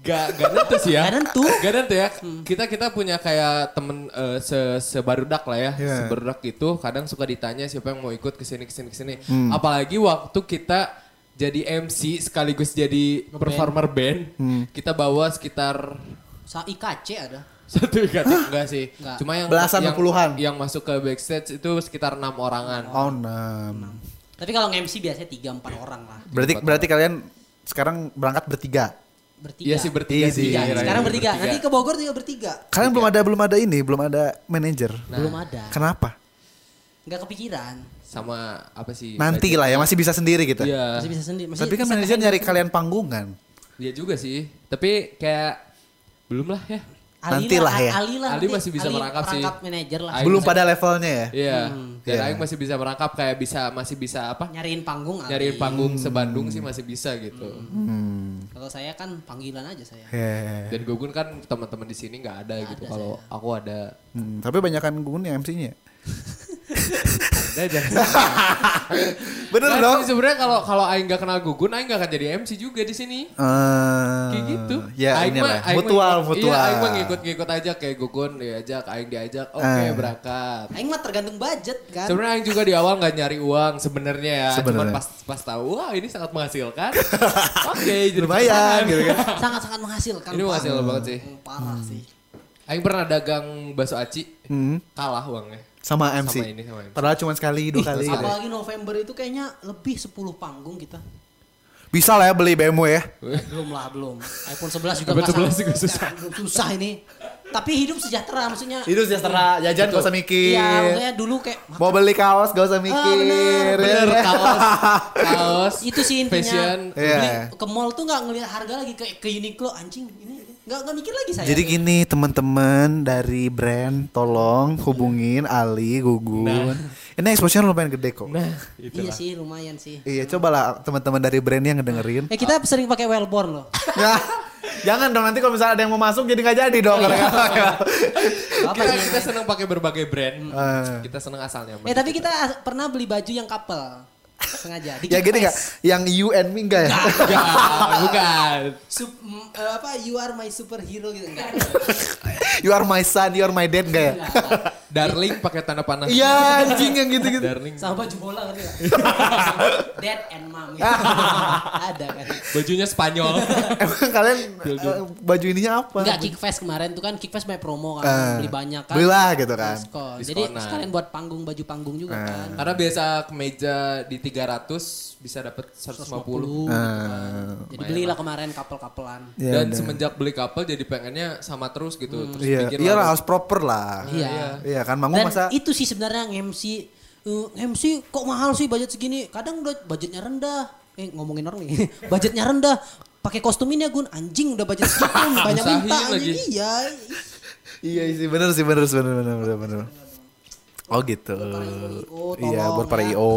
S2: Gak, gak nentu sih ya.
S3: Nggak nentu. Hmm.
S2: Gak nentu ya. Kita kita punya kayak temen eh, se sebarudak lah ya.
S1: Iya.
S2: Sebarudak itu kadang suka ditanya siapa yang mau ikut kesini kesini kesini.
S1: Hmm.
S2: Apalagi waktu kita jadi MC sekaligus jadi performer band.
S1: Hmm.
S2: Kita bawa sekitar
S3: Sa IKC ada.
S2: satu ikatan enggak sih.
S3: Nggak.
S2: Cuma yang
S1: Belasan
S2: yang,
S1: puluhan.
S2: yang masuk ke backstage itu sekitar enam orangan.
S1: Oh, enam.
S3: Tapi kalau MC biasanya 3 4 orang lah.
S1: Berarti berarti kalian sekarang berangkat bertiga.
S2: Iya
S3: Bertiga.
S2: sih bertiga Iya,
S1: Easy.
S2: sih.
S3: Bertiga.
S2: akhirnya.
S3: Sekarang bertiga. Nanti ke Bogor juga bertiga.
S1: Kalian belum ada belum ada ini, belum ada manajer.
S2: Nah.
S3: Belum ada.
S1: Kenapa?
S3: Nggak kepikiran.
S2: sama apa
S3: Iya,
S2: sih?
S1: Nanti lah ya masih bisa sendiri gitu.
S2: Iya.
S3: Masih bisa sendiri. Masih
S1: Tapi kan
S3: bisa
S1: manajer
S3: kepengen
S1: nyari
S2: gitu.
S1: kalian panggungan.
S2: Iya juga sih. Tapi kayak belum lah
S3: Hmm.
S2: ya.
S1: Nantilah ya.
S3: Ali lah
S2: Ali
S3: nanti.
S2: masih bisa merangkap sih.
S3: Perangkap manajer lah.
S2: Aing
S1: Belum
S2: bisa-
S1: pada levelnya ya.
S2: Iya. Dan
S1: Iya.
S2: Aing masih bisa merangkap kayak bisa masih bisa apa?
S3: Nyariin panggung Ali.
S2: Nyariin panggung sebandung sih masih bisa gitu.
S3: Hmm. Kalau saya kan panggilan aja saya.
S1: Iya.
S2: Dan Gugun kan teman-teman di sini nggak ada gitu. Kalau aku ada
S1: Hmm, tapi banyakan Gun yang MC-nya.
S2: ada aja.
S1: Bener
S2: Nggak
S1: dong.
S2: sih, Nah, Sebenarnya kalau kalau Aing nggak kenal Gugun, Aing nggak akan jadi MC juga di sini.
S1: Eh,
S2: Kayak gitu.
S1: Ya
S2: Aing mah-
S1: inilah.
S2: Aing mah
S1: Mutual,
S2: ngikut-
S1: mutual.
S2: Iya, Aing mah ngikut-ngikut aja kayak Gugun diajak, Aing diajak, oke
S1: Eh.
S2: berangkat.
S3: Aing mah tergantung budget kan.
S2: Sebenarnya Aing juga di awal nggak nyari uang sebenarnya ya. Cuman
S1: Sebenarnya.
S2: pas pas tahu wah ini sangat menghasilkan. Oke, jadi
S1: Lumayan
S2: pesan.
S1: gitu kan.
S3: Sangat-sangat menghasilkan.
S2: Ini
S3: Pak.
S2: menghasilkan banget sih.
S3: Hmm, Parah sih.
S2: Aing pernah dagang bakso aci,
S1: Hmm,
S2: kalah uangnya.
S1: sama MC.
S2: ini, sama Iya, MC.
S1: Padahal cuma sekali, dua kali. gitu.
S3: Apalagi November itu kayaknya lebih 10 panggung kita.
S1: Bisa lah ya beli BMW ya.
S3: Belum lah, belum. iPhone 11 juga
S2: iPhone
S3: nggak
S2: 11
S3: sanggup.
S2: juga susah.
S3: Jangan, belum susah ini. Tapi hidup sejahtera maksudnya.
S1: Iya.
S6: Hidup sejahtera, jajan gak usah mikir.
S3: Iya, maksudnya dulu kayak
S1: Mau beli kaos gak usah
S3: bener,
S1: mikir.
S2: Bener, kaos, kaos.
S3: itu sih intinya.
S2: Fashion.
S1: Iya.
S3: Beli ke mall tuh nggak ngelihat harga lagi ke ke Uniqlo anjing ini nggak nggak mikir lagi saya.
S1: Jadi gini teman-teman dari brand
S3: Iya.
S1: tolong hubungin Ali Gugun. Ini exposure lumayan gede kok.
S2: Nah,
S3: iya sih lumayan sih.
S1: Iya cobalah teman-teman dari brand yang ngedengerin.
S3: Eh kita sering pakai wellborn loh.
S1: Nah, jangan dong nanti kalau misalnya ada yang mau masuk jadi nggak jadi dong.
S3: Iya. Apa
S2: Kita,
S3: sih?
S2: kita seneng pakai berbagai brand.
S1: Eh.
S2: Kita seneng asalnya.
S3: Eh tapi kita as- pernah beli baju yang couple sengaja.
S1: ya gini nggak?
S3: Iya.
S1: Yang you and me nggak ya?
S2: Enggak, bukan.
S3: Sup, m- eh, apa you are my superhero gitu enggak.
S1: You are my son, you are my dad nggak ya?
S3: Iya.
S2: Darling pakai tanda panas.
S1: Iya gitu. anjing yang gitu-gitu.
S2: Darling.
S3: Sama baju bola ngerti enggak? Dad and mom gitu. Ada kan.
S2: Bajunya Spanyol.
S1: Emang kalian eh, baju ininya apa?
S3: Enggak kick fest kemarin tuh kan kick fest banyak promo kan
S1: Eh,
S3: beli banyak kan.
S1: Belilah gitu kan. Eh.
S3: Diskon. Jadi
S2: Diskonan.
S3: sekalian buat panggung baju panggung juga kan.
S2: Karena biasa kemeja di 300 bisa dapat 150.
S1: Eh,
S3: Jadi belilah kemarin couple-couplean.
S1: ya
S2: Dan
S1: udah.
S2: semenjak beli couple jadi pengennya sama terus
S3: Hmm.
S2: gitu. Terus
S1: Iya,
S2: pikir
S1: iya
S2: lah,
S1: lah, harus proper lah.
S3: Iya.
S1: Iya kan, Mangu
S3: Dan
S1: masa
S3: itu sih sebenarnya MC uh, MC kok mahal sih budget segini? Kadang udah budgetnya rendah. Eh ngomongin orang nih. budgetnya rendah. Pakai kostum ini ya Gun. Anjing udah budget segitu banyak
S2: Usahain
S3: minta anjing.
S2: lagi.
S3: Iya.
S1: Iya sih bener sih bener sih bener bener bener bener. Oh gitu.
S3: IO,
S1: Iya
S3: tolong
S1: buat para
S3: ya.
S1: IO.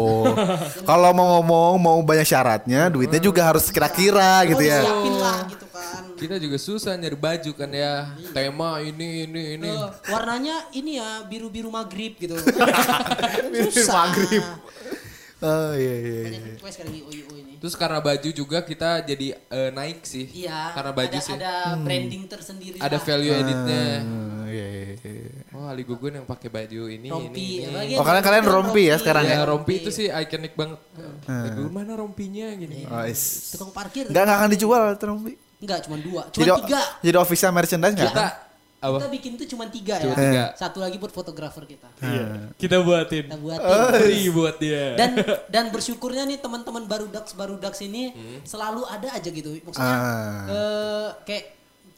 S1: Kalau mau ngomong mau banyak syaratnya, duitnya juga harus kira-kira
S3: Iya.
S1: gitu ya.
S3: Oh, Siapin lah gitu kan.
S2: Kita juga susah nyari baju kan ya. Tema ini ini ini.
S3: Eh, warnanya ini ya biru-biru maghrib gitu.
S1: Biru-biru
S3: Susah.
S1: maghrib. Oh iya iya. iya.
S3: Banyak request kan IO IO ini.
S2: Terus karena baju juga kita jadi eh, naik sih.
S3: Iya.
S2: Karena baju
S3: ada,
S2: sih. Ada,
S3: ada branding tersendiri. lah.
S2: value
S1: Ah.
S2: editnya.
S1: Oh, iya, iya, iya.
S2: Wah, Ali Gugun yang pakai baju ini
S3: rompi.
S2: ini. ini.
S3: Apalagi
S1: Oh, kalian- kalian
S3: yang
S1: rompi ya sekarang
S2: Ya, rompi
S3: Iya.
S2: itu sih ikonik banget.
S1: Ah.
S2: Aduh, mana rompinya gini.
S3: Iya.
S1: Oh, is.
S3: Tukang parkir.
S1: Nggak nggak akan dijual terumbi.
S3: Enggak, cuma dua. Cuma
S1: Jadi
S3: tiga.
S1: jadi official merchandise nggak?
S2: Kita apa?
S3: Kita bikin tuh cuma tiga ya.
S2: Cuma tiga.
S3: Satu lagi buat fotografer kita.
S1: Hmm. Ah.
S2: Kita buatin.
S3: Iya. Kita buatin.
S1: Eh.
S2: Free buat dia.
S3: Dan dan bersyukurnya nih teman-teman baru dax baru dax ini
S2: Hmm.
S3: selalu ada aja gitu. Maksudnya
S1: Ah.
S3: eh, kayak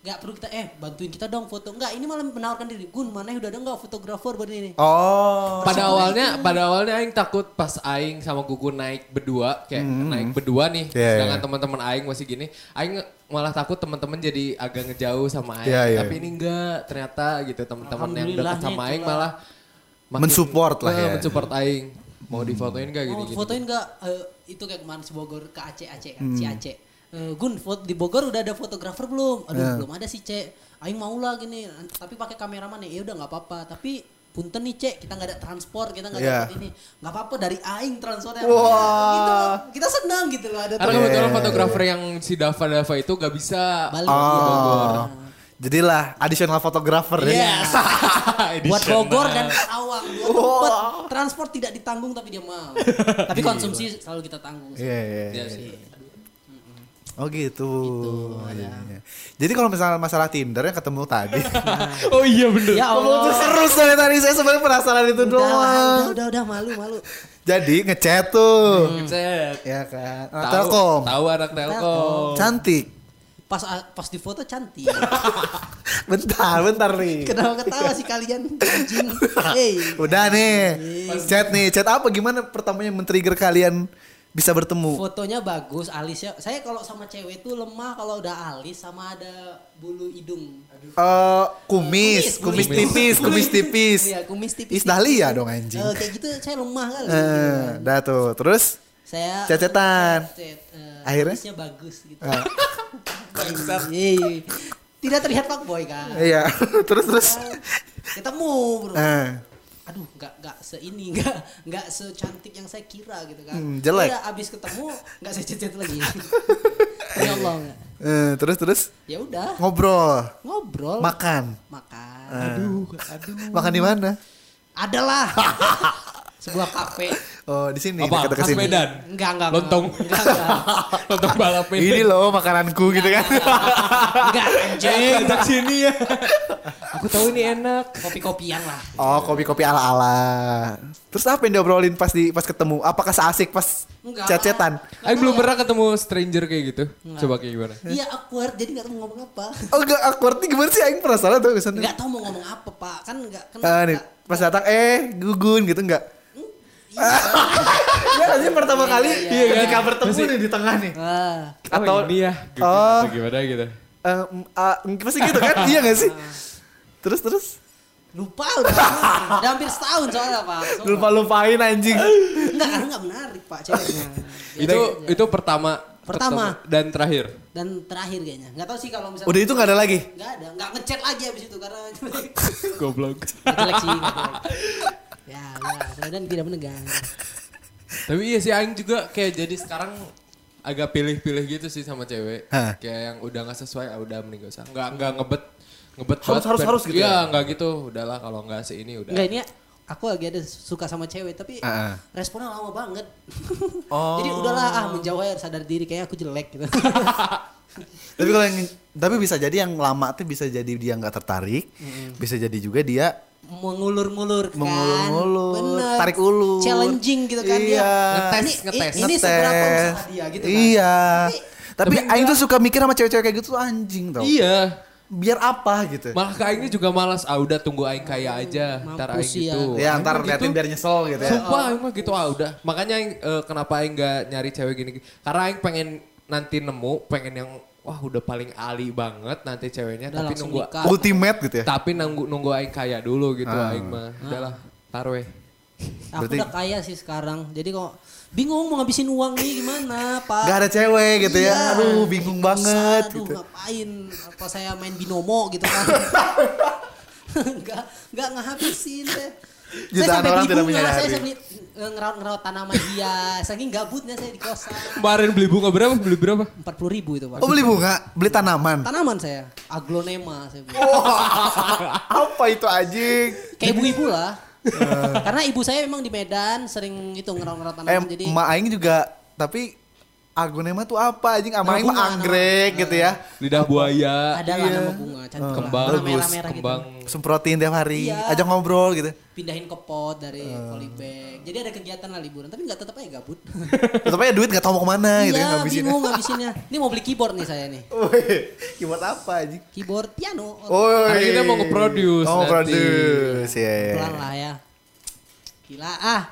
S3: nggak perlu kita eh bantuin kita dong foto. Enggak, ini malah menawarkan diri. Gun, mana udah ada nggak fotografer buat ini?
S1: Oh.
S2: pada awalnya pada awalnya aing takut pas aing sama Gugun naik berdua kayak naik berdua nih
S1: Iya,
S2: sedangkan
S1: iya.
S2: teman-teman aing masih gini aing malah takut teman-teman jadi agak ngejauh sama aing
S1: Iya, iya.
S2: tapi ini enggak ternyata gitu teman-teman yang dekat
S3: Alhamdulillahnya
S2: sama aing
S3: itulah.
S2: malah
S1: Mensupport lah
S2: Eh,
S1: ya.
S2: mensupport aing mau difotoin gak
S3: Mau
S2: gini gini
S3: Oh, fotoin nggak eh, itu kayak kemarin si Bogor ke Aceh Aceh kan
S1: Hmm.
S3: si Aceh. Eh, Gun foto di Bogor udah ada fotografer belum? Aduh
S1: Ya.
S3: belum ada sih Cek. Aing mau lah gini, nanti- tapi pakai kameraman ya. Ya udah nggak apa-apa. Tapi punten nih Cek, kita nggak ada transport, kita nggak
S1: Iya.
S3: ada ini. Nggak apa-apa dari Aing transportnya.
S1: Wah.
S3: Gitu, kita senang gitu loh ada.
S2: karena kebetulan fotografer yang si Dava Dava itu gak bisa
S3: Balik.
S2: Iya,
S1: Oh. Jadilah additional photographer ya.
S3: Buat Bogor dan Karawang, dua tempat transport tidak ditanggung tapi dia mau. tapi konsumsi selalu kita tanggung.
S1: Iya iya.
S2: Iya
S1: iya.
S2: sih.
S1: Oh gitu.
S3: ya.
S1: Iya, iya. Jadi kalau misalnya masalah Tinder yang ketemu tadi.
S2: oh iya bener
S3: Ya
S1: Ngomong tuh
S3: Allah.
S1: seru dari tadi saya sebenarnya penasaran itu
S3: Udah, lah,
S1: doang.
S3: udah, Hmm. udah, udah, malu, malu.
S1: Jadi ngechat tuh.
S2: Cet.
S1: Ya kan. Anak
S2: Tahu-
S1: Telkom.
S2: tahu anak telkom
S1: Cantik.
S3: Pas pas di foto cantik.
S1: Bentar, bentar nih.
S3: Kenapa ketawa sih kalian? Anjing. Hey.
S1: Udah nih. Chat nih. Chat apa gimana pertamanya men-trigger kalian bisa bertemu?
S3: Fotonya bagus, alisnya. Saya kalau sama cewek tuh lemah kalau udah alis sama ada bulu hidung.
S1: Eh, kumis, kumis,
S3: Kumis, kumis.
S1: tipis, kumis tipis.
S3: Iya, kumis tipis.
S1: Is Dahlia dong anjing.
S3: Eh, kayak gitu saya lemah kali.
S1: Eh, dah tuh. Terus
S3: Saya eh,
S1: Cecetan.
S3: Cet, eh,
S1: Akhirnya?
S3: Alisnya bagus gitu.
S1: Eh.
S3: Anjing. Tidak terlihat fuckboy kan.
S1: iya, terus terus.
S3: Iya. Ketemu, Bro.
S1: Eh.
S3: aduh nggak nggak seini nggak nggak secantik yang saya kira gitu kan
S1: Hmm, jelek.
S3: Iya, abis ketemu nggak saya cecet lagi ya Allah nggak.
S1: Eh, terus terus
S3: ya udah
S1: ngobrol,
S3: ngobrol
S1: makan.
S3: makan
S1: Eh. Aduh, Makan di mana?
S3: adalah sebuah kafe
S1: Oh, di sini
S2: Apa?
S1: dekat-dekat
S2: Khas
S1: sini.
S2: Medan?
S3: Enggak, enggak.
S2: Lontong.
S3: Enggak, enggak.
S2: Lontong balap Medan.
S1: Ini loh makananku
S3: Iya.
S1: gitu kan.
S3: Enggak, anjing.
S2: Eh, ajak sini ya. Aku tahu ini enak.
S3: Kopi-kopian lah.
S1: Oh, kopi-kopi ala-ala. Terus apa yang diobrolin pas di pas ketemu? Apakah seasik pas
S3: Enggak.
S1: cecetan?
S2: Aku belum pernah ketemu stranger kayak gitu. Coba kayak gimana?
S3: ya. Iya awkward, jadi nggak tahu mau ngomong apa.
S1: Oh, enggak awkwardnya gimana sih? Aing penasaran tuh kesana.
S3: Nggak tahu mau ngomong apa, Pak. Kan nggak kan.
S1: Ah, nih,
S3: nggak- Hmm?
S1: pas datang eh gugun gitu enggak? Iya kan sih pertama kali
S3: iya,
S2: iya.
S1: ketika bertemu nih di tengah nih.
S3: Ah,
S2: Atau
S1: Atau-
S2: ini ya, gitu,
S1: Oh.
S2: atau gimana gitu.
S1: Eh, mm, ah, pasti gitu kan? Iya gak sih? Terus terus
S3: lupa udah. lama. udah hampir setahun soalnya, Pak. Soalnya.
S1: lupa lupain anjing.
S3: Enggak, karena nggak menarik, Pak, ceweknya.
S2: Itu itu pertama
S3: Gitu Pertama.
S2: ketemu. dan terakhir.
S3: Dan terakhir kayaknya. Nggak tahu sih kalau misalnya.
S1: Udah itu nggak ada lagi.
S3: Nggak ada, nggak ngechat lagi abis itu karena
S2: Goblok.
S3: jelek sih. nggak jelek. Ya, ya, kemudian tidak menegang.
S2: Tapi iya sih aing juga kayak jadi sekarang agak pilih-pilih gitu sih sama cewek.
S1: Hah.
S2: Kayak yang udah nggak sesuai ah, udah mending gak usah. Enggak enggak ngebet ngebet
S1: Harus-
S2: banget.
S1: harus- harus gitu
S2: Iya,
S1: ya?
S2: enggak gitu. Udahlah kalau enggak seini udah.
S3: Enggak ini ya, aku lagi ada suka sama cewek tapi
S1: Ah, Oh. ah.
S3: responnya lama banget. Jadi udahlah ah menjauh aja sadar diri kayaknya aku jelek gitu.
S1: Tapi kalau yang tapi bisa jadi yang lama tuh bisa jadi dia nggak tertarik, bisa jadi juga dia
S3: Mengulur-ngulur kan.
S1: Mengulur-ngulur,
S3: Bener.
S1: tarik ulur.
S3: Challenging gitu kan
S1: Iya.
S3: dia.
S2: Ngetes,
S3: Ini,
S2: ngetes.
S3: ini, ini seberapa usaha dia gitu kan.
S1: Iya. Tapi,
S2: Tapi
S1: Aing tuh suka mikir sama cewek-cewek kayak gitu tuh anjing tau.
S2: Iya,
S1: Biar apa gitu.
S2: malah ke Aing ini juga malas. Ah udah tunggu Aing kaya aja,
S3: Mampus
S2: ntar Aing
S3: sih ya.
S2: gitu.
S1: ya
S2: Aing
S1: ntar
S2: mah
S1: liatin
S2: gitu.
S1: biar nyesel gitu ya.
S2: Sumpah Aing mah gitu ah udah. Makanya Aing eh, kenapa Aing gak nyari cewek gini, gini. Karena Aing pengen nanti nemu, pengen yang wah udah paling ali banget nanti ceweknya.
S3: Udah
S2: tapi
S3: langsung
S2: nunggu,
S3: nikah.
S1: Ultimate gitu ya.
S2: tapi nunggu nunggu Aing kaya dulu gitu Aing mah.
S3: Ah.
S2: Udahlah, taruh
S3: Aku
S1: Berarti-
S3: udah kaya sih sekarang. Jadi kok bingung mau ngabisin uang nih gimana Pak.
S1: Gak ada cewek gitu
S3: Iya.
S1: ya. Aduh bingung banget
S3: Aduh
S1: gitu.
S3: ngapain apa saya main binomo gitu kan nggak nggak ngehabisin deh saya
S1: Jutaan
S3: sampai
S1: orang tidak
S3: bingung lah saya
S1: menyadari.
S3: sampai eh, ngerawat-ngerawat tanaman hias saking gabutnya saya di kosan
S2: Kemarin beli bunga berapa? Beli berapa?
S3: empat puluh ribu itu pak
S1: Oh beli bunga, beli tanaman.
S3: tanaman saya aglonema saya beli.
S1: apa itu anjing?
S3: kayak ibu-ibu lah karena ibu saya memang di Medan sering itu
S1: Eh,
S3: ngerawat-ngerawat tanaman jadi
S1: Ma Aing juga tapi agonema tuh apa anjing? Ama Aing
S3: bunga,
S1: mah anggrek gitu ya.
S2: Lidah buaya, Iya.
S3: ada lah
S1: iya.
S3: nama bunga cantik lah.
S2: Eh, kembang,
S3: Warna merah-merah gitu
S2: kembang.
S1: Semprotin tiap hari,
S3: Iya.
S1: ajak ngobrol gitu.
S3: pindahin ke pot dari
S1: Eh.
S3: polybag jadi ada kegiatan lah liburan tapi nggak tetap aja gabut
S1: Tetep aja duit gak tau mau kemana gitu ya
S3: Iya,
S1: ngabisin.
S3: bingung ngabisinnya. Ini mau beli keyboard nih saya nih.
S1: Woi, keyboard apa anjing?
S3: Keyboard piano.
S1: Woi.
S2: Karena kita mau nge-produce
S1: Oh,
S2: nanti.
S1: produce ya.
S3: Pelan lah ya. Gila ah.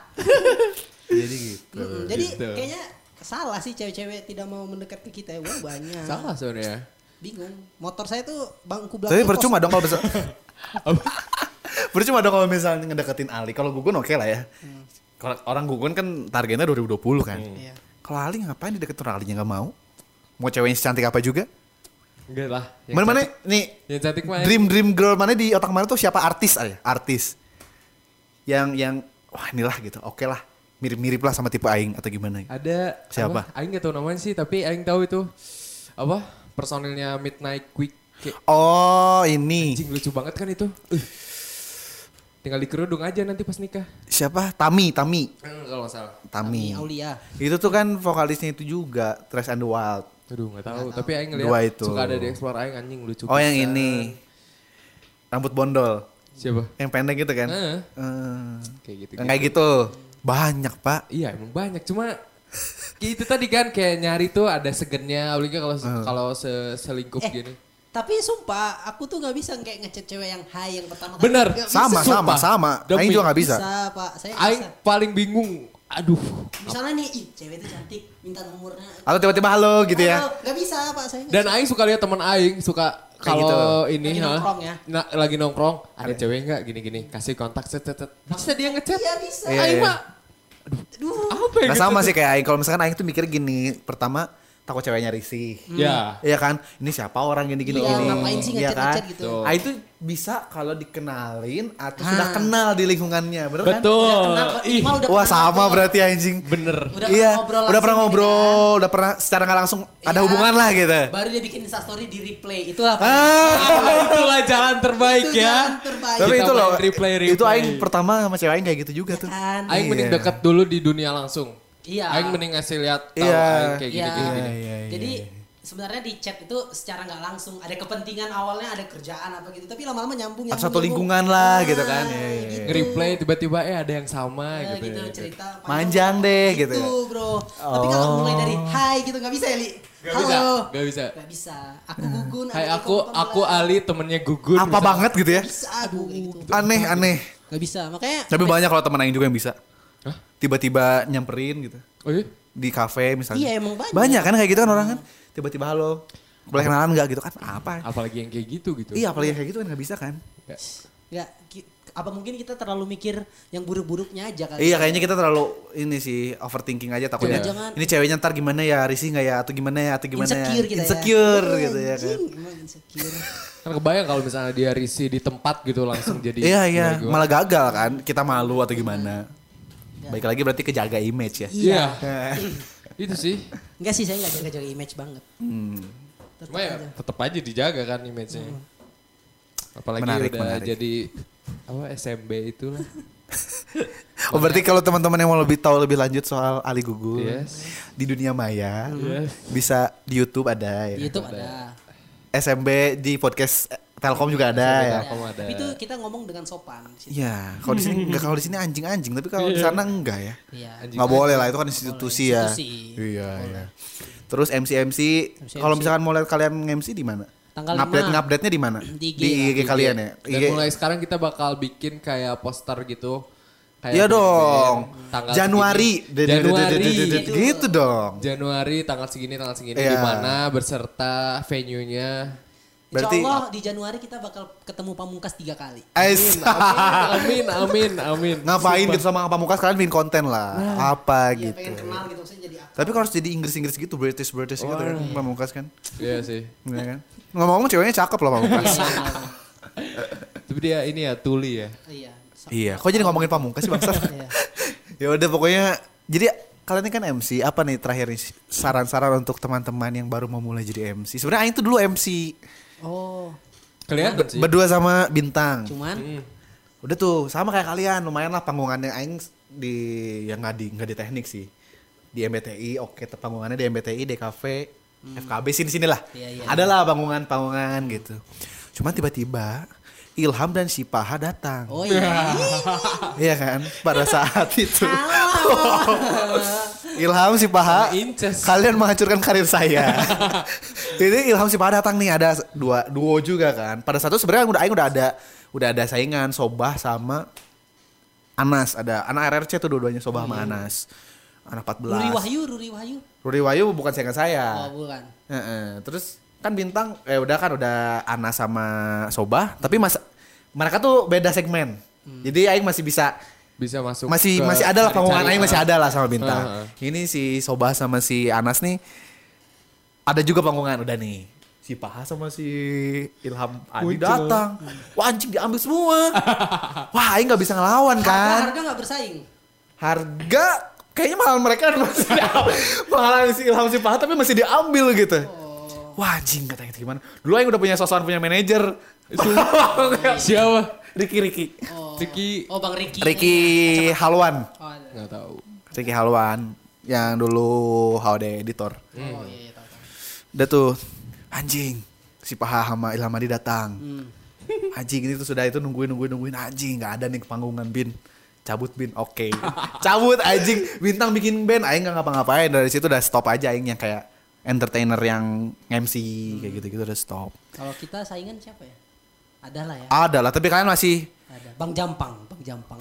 S1: Jadi gitu.
S3: Mm-mm, Jadi
S2: Gitu.
S3: kayaknya salah sih cewek-cewek tidak mau mendekat ke kita ya. Wah, banyak.
S2: Salah sebenarnya.
S3: Bingung. Motor saya tuh bangku belakang.
S1: Tapi percuma dong kalau bisa. percuma dong kalau misalnya ngedeketin Ali. Kalau gugun oke lah ya. Kalau orang gugun kan targetnya 2020 kan.
S3: Hmm. Iya.
S1: Kalau Ali ngapain dideketin orang Alinya nggak mau? Mau cewek yang cantik apa juga?
S2: Enggak lah. yang
S1: Mana mana
S2: cantik-
S1: nih
S2: Yang cantik mah. ya.
S1: dream dream girl mana di otak mana tuh siapa artis aja? Artis yang yang wah inilah gitu. Oke lah. Mirip-mirip lah sama tipe Aing atau gimana? gitu.
S2: Ada
S1: Siapa?
S2: apa? Aing gak tahu namanya sih, tapi Aing tahu itu apa personilnya Midnight Quick. Kayak,
S1: Oh ini
S2: Anjing lucu banget kan itu. Uh. Tinggal dikerudung aja nanti pas nikah.
S1: siapa? Tami Tami
S2: Eh, Kalau nggak salah.
S1: Tami.
S3: Tami Aulia.
S1: Itu tuh kan vokalisnya itu juga Trash and the Wild.
S2: Aduh nggak tahu. Tapi Aing ngeliat
S1: Dua itu.
S2: suka ada di explore Aing anjing lucu.
S1: Oh yang
S2: pisan.
S1: ini rambut bondol
S2: Siapa?
S1: yang pendek gitu kan?
S2: Heeh.
S1: Eh,
S2: Kayak gitu.
S1: yang kayak gitu banyak pak.
S2: Iya emang banyak cuma kayak itu tadi kan kayak nyari tuh ada segennya apalagi kalau
S1: Hmm.
S2: kalau se- selingkuh
S3: Eh,
S2: gini.
S3: tapi sumpah aku tuh nggak bisa kayak ngechat cewek yang high yang pertama kali.
S2: Bener.
S3: Nggak bisa.
S1: Sama sama
S2: Sumpah.
S1: sama.
S2: Demi.
S1: Aing juga nggak
S3: Bisa.
S1: bisa.
S3: Pak. Saya nggak
S2: Aing
S3: bisa.
S2: paling bingung. Aduh.
S3: Misalnya nih, ih cewek itu cantik, minta nomornya.
S1: Atau tiba-tiba halo gitu ya.
S3: Aduh, Nggak bisa Pak, saya nggak
S2: Dan Aing suka lihat teman Aing suka kalau
S1: gitu.
S2: ini
S3: Lagi
S2: ha,
S3: nongkrong ya.
S2: na- lagi nongkrong ada cewek nggak gini-gini kasih kontak set set set. Bisa dia ngechat?
S3: Iya, bisa.
S1: Iya,
S2: Aing
S1: iya.
S2: mah. Aduh, apa ya
S1: Nah
S2: gitu
S1: sama
S2: tuh?
S1: sih kayak Aing. Kalau misalkan Aing tuh mikir gini, pertama takut ceweknya risih.
S2: Ya.
S1: Iya kan? Ini siapa orang gini gini
S3: Iya,
S1: gini.
S3: ngapain sih
S1: Iya
S3: ngechat-ngechat gitu.
S2: Betul.
S1: Ah, itu bisa kalau dikenalin atau sudah kenal di lingkungannya, bener kan?
S2: Betul.
S3: Kenal, kalau
S2: Ih,
S3: Iqbal udah
S1: Wah
S3: pernah
S1: sama
S3: ngobrol.
S1: berarti anjing.
S2: bener.
S3: Udah
S1: iya,
S3: pernah
S1: udah pernah
S3: ngobrol langsung gitu
S1: ngobrol, udah pernah secara nggak langsung ada
S3: Iya.
S1: hubungan lah gitu.
S3: Baru dia bikin instastory di replay. Itu apa?
S1: Ah.
S2: Itulah jalan terbaik
S3: Itu
S2: ya.
S3: jalan terbaik.
S1: Tapi
S2: Kita
S1: itu loh,
S2: main replay,
S1: itu
S2: replay.
S1: aing pertama sama cewek aing kayak gitu juga tuh.
S3: Kan.
S2: Aing mending
S1: Iya.
S2: deket dulu di dunia langsung.
S3: Iya.
S2: Aing mending ngasih lihat tahu
S1: Iya.
S2: aing kayak gini
S3: Iya.
S2: gini. gini.
S1: iya, iya.
S3: Jadi sebenarnya di chat itu secara nggak langsung ada kepentingan awalnya ada kerjaan apa gitu tapi lama-lama nyambung
S1: Atau
S3: nyambung
S1: satu
S3: nyambung.
S1: lingkungan lah gitu kan.
S3: Ah,
S1: Iya, iya, iya.
S3: gitu.
S2: Nge-replay tiba-tiba eh ada yang sama
S3: Nah,
S2: gitu.
S3: gitu
S2: ya.
S3: cerita
S1: Manjang deh, gitu
S3: Itu,
S1: ya. Oh.
S3: bro tapi kalau mulai dari hai gitu nggak bisa ya li
S2: Gak
S3: halo
S2: bisa, gak bisa.
S3: Nggak bisa aku gugun
S2: Hai
S3: Iko
S2: aku,
S3: Pamela.
S2: aku Ali temennya Gugun.
S1: Apa
S2: misalnya.
S1: banget gitu ya?
S3: Nggak bisa aku kayak gitu
S1: Aneh aneh.
S3: nggak bisa makanya
S1: Tapi banyak kalau teman aing juga yang bisa. Tiba-tiba nyamperin gitu
S2: Oh iya?
S1: di kafe misalnya.
S3: Iya, emang banyak. Hmm.
S1: Banyak kan kayak gitu kan orang kan. Tiba-tiba halo. Boleh kenalan nggak gitu kan?
S3: Iya.
S1: Apa?
S2: Apalagi yang kayak gitu gitu.
S1: Iya apalagi kayak gitu kan nggak bisa kan?
S3: nggak ya, ki- apa mungkin kita terlalu mikir yang buruk-buruknya aja kali ya.
S1: Iya kayaknya kita terlalu ini sih overthinking aja takutnya.
S3: Iya. Jangan.
S1: Ini ceweknya ntar gimana ya risih nggak ya atau gimana ya atau gimana
S3: insecure
S1: ya.
S3: kita
S1: insecure
S3: ya.
S1: gitu ya kan.
S3: Anjing, emang insecure
S2: Kan kebayang kalau misalnya dia risi di tempat gitu langsung jadi.
S1: Iya iya
S2: gimana-gimana.
S1: malah gagal kan kita malu atau gimana.
S3: Iya.
S1: Baik lagi berarti kejaga image ya.
S2: Iya. itu sih.
S3: Enggak sih saya nggak jaga-jaga image banget
S1: Hmm.
S3: Tetep
S2: Cuma ya
S3: aja.
S2: tetap aja dijaga kan image-nya. Apalagi
S1: Menarik,
S2: udah
S1: menarik.
S2: jadi apa SMB itulah.
S1: Oh berarti kalau teman-teman yang mau lebih tahu lebih lanjut soal Ali Gugur
S2: Yes.
S1: di dunia maya
S2: Yes.
S1: bisa di YouTube ada ya.
S3: Di YouTube ada.
S1: SMB di podcast eh, Telkom juga ada ya.
S2: Telkom ada.
S3: Tapi itu kita ngomong dengan sopan. di situ.
S1: Iya, kalau di sini enggak kalau di sini anjing-anjing, tapi kalau di sana enggak ya.
S3: Iya.
S1: nggak boleh lah itu kan institusi ya.
S3: Institusi.
S1: Iya, iya. Terus MC MC kalau misalkan mau lihat kalian MC di mana?
S3: Tanggal
S1: Ngupdate
S3: lima.
S1: ngupdate-nya di mana?
S3: Di IG.
S1: IG kalian ya.
S2: Dan mulai sekarang kita bakal bikin kayak poster gitu. Kayak
S1: Iya
S2: band-band
S1: dong.
S2: Tanggal
S1: Januari.
S2: segini. Januari.
S1: Gitu. Gitu dong.
S2: Januari tanggal segini tanggal segini
S1: Iya.
S2: di mana beserta venue-nya.
S3: Insya
S1: Berarti-
S3: Allah di Januari kita bakal ketemu Pamungkas tiga kali. Iya,
S1: Ais.
S2: Amin, amin, amin.
S1: Ngapain gitu sama Pamungkas kalian bikin konten lah. Apa
S3: Iya
S1: gitu.
S3: pengen kenal gitu maksudnya jadi apa?
S1: Tapi kalau harus jadi Inggris-Inggris gitu, British-British gitu kan Pamungkas kan.
S2: Iya sih.
S1: Iya kan? Ngomong-ngomong ceweknya cakep loh Pamungkas.
S2: Tapi dia ini ya tuli ya.
S3: Iya. sama.
S1: Iya, kok jadi ngomongin pamungkas sih bangsat? ya udah pokoknya jadi kalian ini kan MC, apa nih terakhir nih saran-saran untuk teman-teman yang baru mau mulai jadi MC? Sebenarnya Aing tuh dulu MC
S3: Oh,
S2: Kelihatan sih.
S1: berdua sama Bintang.
S3: cuman
S1: Udah tuh sama kayak kalian, lumayan lah panggungannya Aing di yang nggak di nggak di teknik sih di MBTI, oke te- panggungannya di MBTI, DKV, FKB sini sini lah.
S3: Hmm. Iya, iya.
S1: Adalah panggungan-panggungan gitu. Cuman tiba-tiba Ilham dan Sipaha datang.
S3: oh iya.
S1: Iya kan? Pada saat itu. Ilham si Paha,
S2: Sama Inces.
S1: kalian menghancurkan karir saya. Jadi Ilham si Paha datang nih ada dua duo juga kan. Pada satu sebenarnya udah aing udah ada udah ada saingan Sobah sama Anas ada anak RRC tuh dua-duanya Sobah sama Anas. Anak
S3: Hmm.
S1: 14.
S3: Ruri Wahyu, Ruri Wahyu.
S1: Ruri Wayu bukan saingan saya.
S3: Oh, bukan.
S1: Heeh, terus kan bintang eh udah kan udah Ana sama Sobah, tapi mas mereka tuh beda segmen.
S3: Hmm.
S1: Jadi aing masih bisa
S2: Bisa masuk.
S1: masih
S2: ke-
S1: masih ada lah panggungan
S2: cari-
S1: aing masih ada lah sama bintang.
S2: Heeh.
S1: Ini si Sobah sama si Anas nih ada juga panggungan udah nih. Si Paha sama si Ilham Adi datang. Wah anjing diambil semua. Wah aing nggak bisa ngelawan kan
S3: Harga harga nggak bersaing.
S1: harga kayaknya malah mereka masih diambil. malah si Ilham si Pahat tapi masih diambil gitu. Wah anjing katanya gimana. Dulu Aing udah punya sosokan punya manajer.
S2: Siapa?
S1: Riki Riki.
S2: Tiki.
S3: Oh, Bang Ricky.
S1: Riki Halwan.
S3: Oh, ada.
S2: Nggak tahu.
S1: Riki Halwan yang dulu HOD editor.
S3: oh iya, iya, tahu, tahu.
S1: Udah tuh anjing si Paha sama Ilham Adi datang. Anjing ini tuh sudah itu nungguin nungguin nungguin anjing nggak ada nih panggungan bin cabut bin oke cabut anjing bintang bikin band aing nggak ngapa-ngapain dari situ udah stop aja aing yang kayak entertainer yang MC kayak gitu-gitu udah stop
S3: Kalau kita saingan siapa ya? Ada lah ya.
S1: ada lah tapi kalian masih
S3: Ada. Bang Jampang, Bang Jampang.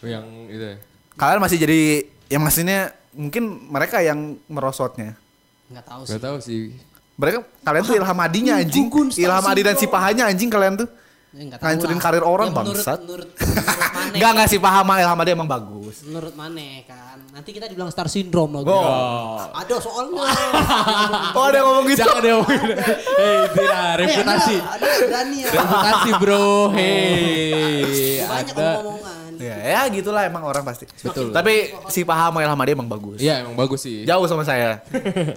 S2: Yang itu ya.
S1: kalian masih jadi yang maksudnya mungkin mereka yang merosotnya
S3: Nggak tahu sih.
S2: Nggak tahu sih.
S1: mereka kalian tuh Ilham Adinya anjing
S3: Gugun, Star
S1: Ilham Adi dan si
S3: Syndrome.
S1: Pahanya anjing kalian tuh
S3: Ya, nggak tahu
S1: ngancurin
S3: lah.
S1: karir orang
S3: Ya, menurut-
S1: bangsat
S3: Menurut, menurut Mane.
S1: Enggak enggak sih paham Ilham Adi emang bagus.
S6: bagus.
S3: menurut mana kan nanti kita dibilang star syndrome loh
S6: Oh.
S3: ada soalnya
S1: Oh ada yang ngomong gitu.
S2: Jangan deh ngomongin. Hei, Zira, reputasi.
S3: Eh, ada, ada berani ya
S2: Reputasi bro, hei.
S3: banyak
S2: Ada.
S3: omongan
S1: Ya, ya gitulah emang orang pasti.
S2: Betul.
S1: Tapi si Paha sama Ilham Ade emang bagus.
S2: Iya emang bagus sih.
S1: Jauh sama saya.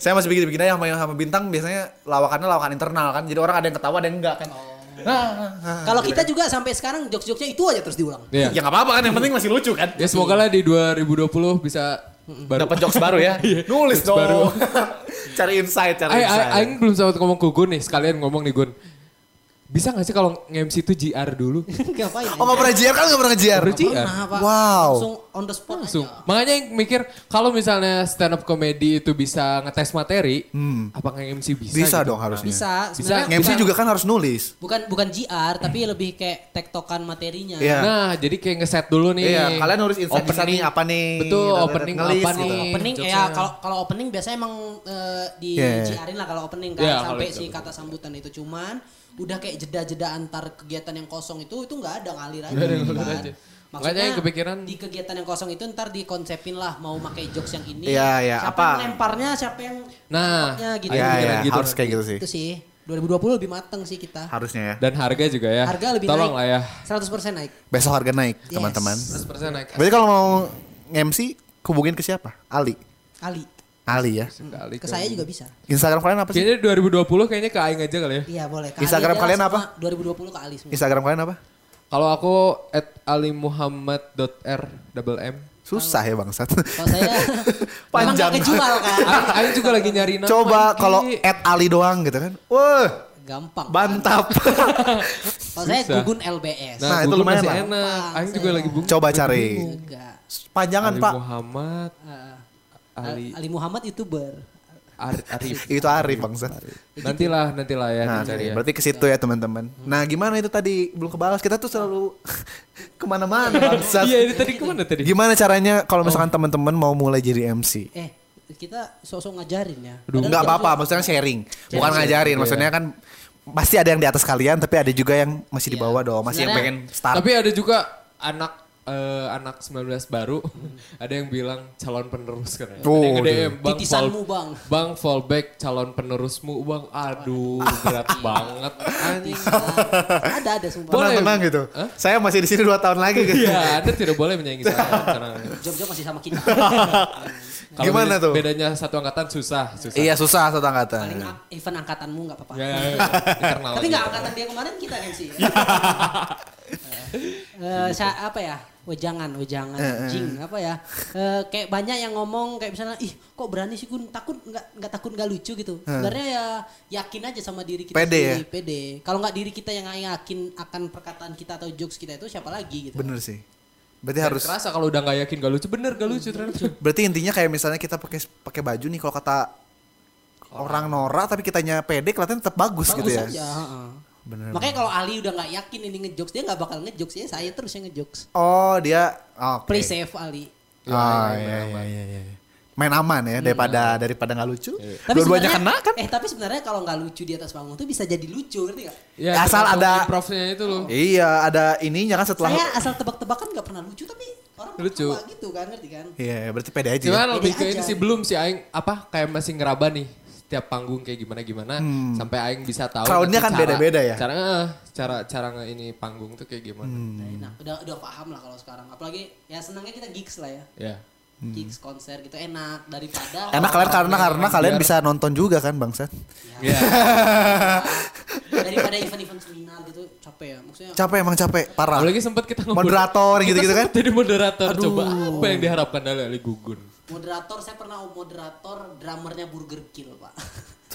S1: saya masih bikin-bikin aja sama sama bintang biasanya lawakannya lawakan internal kan. Jadi orang ada yang ketawa ada yang enggak kan. Ah, ah, ah.
S3: kalau kita juga sampai sekarang jokes-jokesnya itu aja terus diulang
S2: Iya.
S1: Ya nggak apa-apa kan yang penting masih lucu kan.
S2: Ya semoga lah di 2020 bisa baru.
S1: Dapat jokes baru ya. Nulis dong.
S2: Iya. baru.
S1: cari insight, cari
S2: Ay, ay,
S1: insight.
S2: Eh, Aing belum sempat ngomong ke Gun nih, sekalian ngomong nih Gun. Bisa gak sih kalau nge-MC itu GR dulu?
S3: ngapain ya?
S1: Oh nggak pernah JR kan nggak pernah JR.
S2: Baru GR.
S3: Kenapa?
S1: Wow.
S3: langsung on the spot
S2: Langsung.
S3: aja.
S2: Makanya yang mikir kalau misalnya stand up comedy itu bisa ngetes materi, apa nge-MC bisa?
S1: Hmm. Bisa
S2: gitu?
S1: dong harusnya.
S3: bisa
S2: Bisa.
S3: sebenarnya
S1: MC juga kan harus nulis.
S3: bukan bukan GR tapi lebih kayak tektokan materinya
S1: Iya.
S2: Nah, jadi kayak ngeset dulu nih.
S1: Iya, kalian nulis insight bisa nih, apa nih,
S2: Betul,
S1: gitu,
S2: opening
S1: ngelis
S2: apa
S1: gitu.
S2: nih.
S3: opening
S2: Iya, jokesnya.
S3: ya kalau kalau opening biasanya emang eh, di
S1: Iya.
S3: GR-in lah kalau opening kan
S2: Iya, kalau
S3: sampai
S2: itu,
S3: si
S2: betul.
S3: kata sambutan itu cuman udah kayak jeda-jeda antar kegiatan yang kosong itu itu nggak ada ngalir aja.
S2: Nggak ada,
S3: kan.
S2: ngalir aja. Makanya
S3: Maksudnya
S2: yang kepikiran-
S3: di kegiatan yang kosong itu ntar dikonsepin lah mau pakai jokes yang ini.
S1: Iya, iya,
S3: Siapa
S1: apa?
S3: yang lemparnya, siapa yang
S2: Nah,
S3: nangkepnya gitu.
S1: Iya, iya,
S2: Aing pikiran gitu
S1: harus
S2: nanti.
S1: kayak gitu sih.
S3: Itu sih 2020 lebih mateng sih kita.
S1: Harusnya ya.
S2: dan harga juga ya.
S3: Harga lebih
S2: Iya. Tolong
S3: naik.
S2: lah ya.
S3: 100% naik.
S1: Besok harga naik,
S3: Yes.
S1: teman-teman.
S2: 100% naik.
S1: Berarti kalau mau MC hubungin ke siapa? Ali.
S3: Ali.
S1: Ali ya.
S2: Sekali
S3: Hmm. Ke saya juga bisa.
S1: Instagram kalian apa sih?
S2: Kayaknya 2020 kayaknya ke Aing aja kali ya.
S3: Iya boleh. Ke
S1: Instagram
S3: aja
S1: kalian
S3: lah
S1: apa?
S3: semua. 2020 ke Ali semua.
S1: Instagram kalian apa?
S2: Kalau aku at alimuhammad.r double M.
S1: Susah ya bangsat.
S3: Kalau saya memang
S1: Panjang.
S3: nggak kejual kan.
S2: Aing, Aing juga lagi nyari nama. Nah,
S1: Coba
S2: Ki.
S1: kalau at Ali doang gitu kan. Wah,
S3: Gampang.
S1: bantap.
S3: Kalau saya
S2: Susah.
S3: gugun LBS.
S2: Nah,
S1: Nah, itu
S2: itu
S1: lumayan
S2: lumayan
S1: lah.
S2: enak. Aing juga lagi bingung.
S1: Coba cari.
S3: Enggak.
S1: Panjangan,
S2: Ali
S1: Pak.
S2: Muhammad
S1: iya.
S3: Eh,
S2: Ali
S3: Ali Muhammad youtuber.
S2: Ar- Arif.
S1: Itu Ari bangsat.
S2: Nantilah, nantilah ya
S1: Nah,
S2: dicari ya. Hmm.
S1: berarti ke situ ya teman-teman. Nah, gimana itu tadi belum kebalas. Kita tuh selalu kemana-mana. bangsat.
S2: Iya, Oh. ini tadi kemana tadi?
S1: Gimana caranya kalau misalkan teman-teman mau mulai jadi MC?
S3: Eh, kita sosok ngajarin ya. Padahal
S1: Enggak
S3: kita
S1: apa-apa,
S3: juga-
S1: maksudnya sharing. Bukan ngajarin,
S2: Iya.
S1: maksudnya kan pasti ada yang di atas kalian tapi ada juga yang masih di bawah dong, masih yang pengen
S3: Sebenarnya-
S1: start.
S2: Iya. Tapi ada juga anak eh, anak 19 baru ada yang bilang calon penerus kan. ya. ada yang
S1: Oh,
S2: nge-DM, bang,
S3: Titisanmu,
S2: fallback
S3: Bang."
S2: bang fallback calon penerusmu bang. Aduh berat banget. Anjing.
S3: Ada ada sumpah.
S2: Boleh.
S1: tenang gitu. Saya masih di sini 2 tahun lagi gitu.
S2: Iya, anda tidak boleh menyaingi saya. tenang.
S3: Job-job masih sama kita.
S2: Kalau
S1: Gimana
S2: beda-
S1: tuh?
S2: Bedanya satu angkatan susah, susah.
S1: Iya, susah satu
S3: Paling
S1: angkatan.
S3: a- event angkatanmu enggak apa-apa.
S2: Ya, ya, ya. Internal gitu.
S1: Oh,
S3: Tapi
S2: aja.
S1: gitu.
S3: enggak angkatan dia kemarin kita kan sih.
S1: Ya.
S3: Eh, eh, saya- apa ya? Wejangan, wejangan,
S1: eh.
S3: jing, apa ya? Eh, kayak banyak yang ngomong kayak misalnya, ih kok berani sih kun takut nggak nggak takut nggak lucu gitu. Sebenarnya ya yakin aja sama diri kita
S1: Eh. Pede ya?
S3: sendiri, pede. Kalau nggak diri kita yang yakin akan perkataan kita atau jokes kita itu siapa lagi gitu.
S1: Bener sih. Berarti
S2: Dan
S1: harus
S2: Kerasa kalau udah nggak yakin gak lucu, bener gak lucu ternyata.
S1: Berarti intinya kayak misalnya kita pakai pakai baju nih kalau kata orang Nora tapi kitanya pede kelihatan tetap bagus, gitu
S3: Bagus
S1: ya.
S3: iya. aja. heeh.
S1: Bener.
S3: Makanya kalau Ali udah nggak yakin ini ngejokes dia nggak bakal ngejokes ya saya terus yang ngejokes.
S1: Oh, dia oke.
S3: Play safe Ali.
S1: Ah, iya, iya, iya, iya. Main aman ya daripada daripada nggak lucu. Dua-duanya
S3: Iya. sebenarnya-
S1: kena kan?
S3: Eh tapi sebenarnya kalau nggak lucu di atas panggung tuh bisa jadi lucu ngerti nggak?
S2: Ya,
S1: Asal
S2: tergantung
S1: ada-
S2: improvnya itu loh.
S1: Iya, ada ininya kan setelah
S3: Saya asal tebak-tebakan nggak pernah lucu tapi orang
S2: Lucu.
S3: ketawa gitu kan ngerti kan?
S1: Iya, berarti pede aja. ya.
S2: Cuman lebih
S3: Pede
S2: ke
S3: aja.
S2: ini sih belum sih Aing apa kayak masih ngeraba nih setiap panggung kayak gimana gimana sampai Aing bisa tahu.
S1: Hmm. Crowd-nya
S2: nanti
S1: kan
S2: cara-
S1: beda-beda ya? Hmm.
S2: Cara eh, cara cara nge- ini panggung tuh kayak gimana.
S3: Nah udah udah paham lah kalau sekarang. Apalagi ya senangnya kita gigs lah ya.
S2: Ya.
S3: Gigs konser gitu enak daripada
S1: Hmm. Enak kalian karena karena kalian
S2: biar-
S1: bisa nonton juga kan bangsat.
S2: Ya.
S3: daripada event-event seminar gitu capek ya. Maksudnya
S1: Capek emang capek, parah.
S2: Apalagi sempat kita nge-
S1: Moderator
S2: kita
S1: gitu-gitu kan?
S2: sempet Jadi moderator coba apa yang diharapkan dari Ali Gugun.
S3: moderator saya pernah moderator drummernya Burger Kill pak.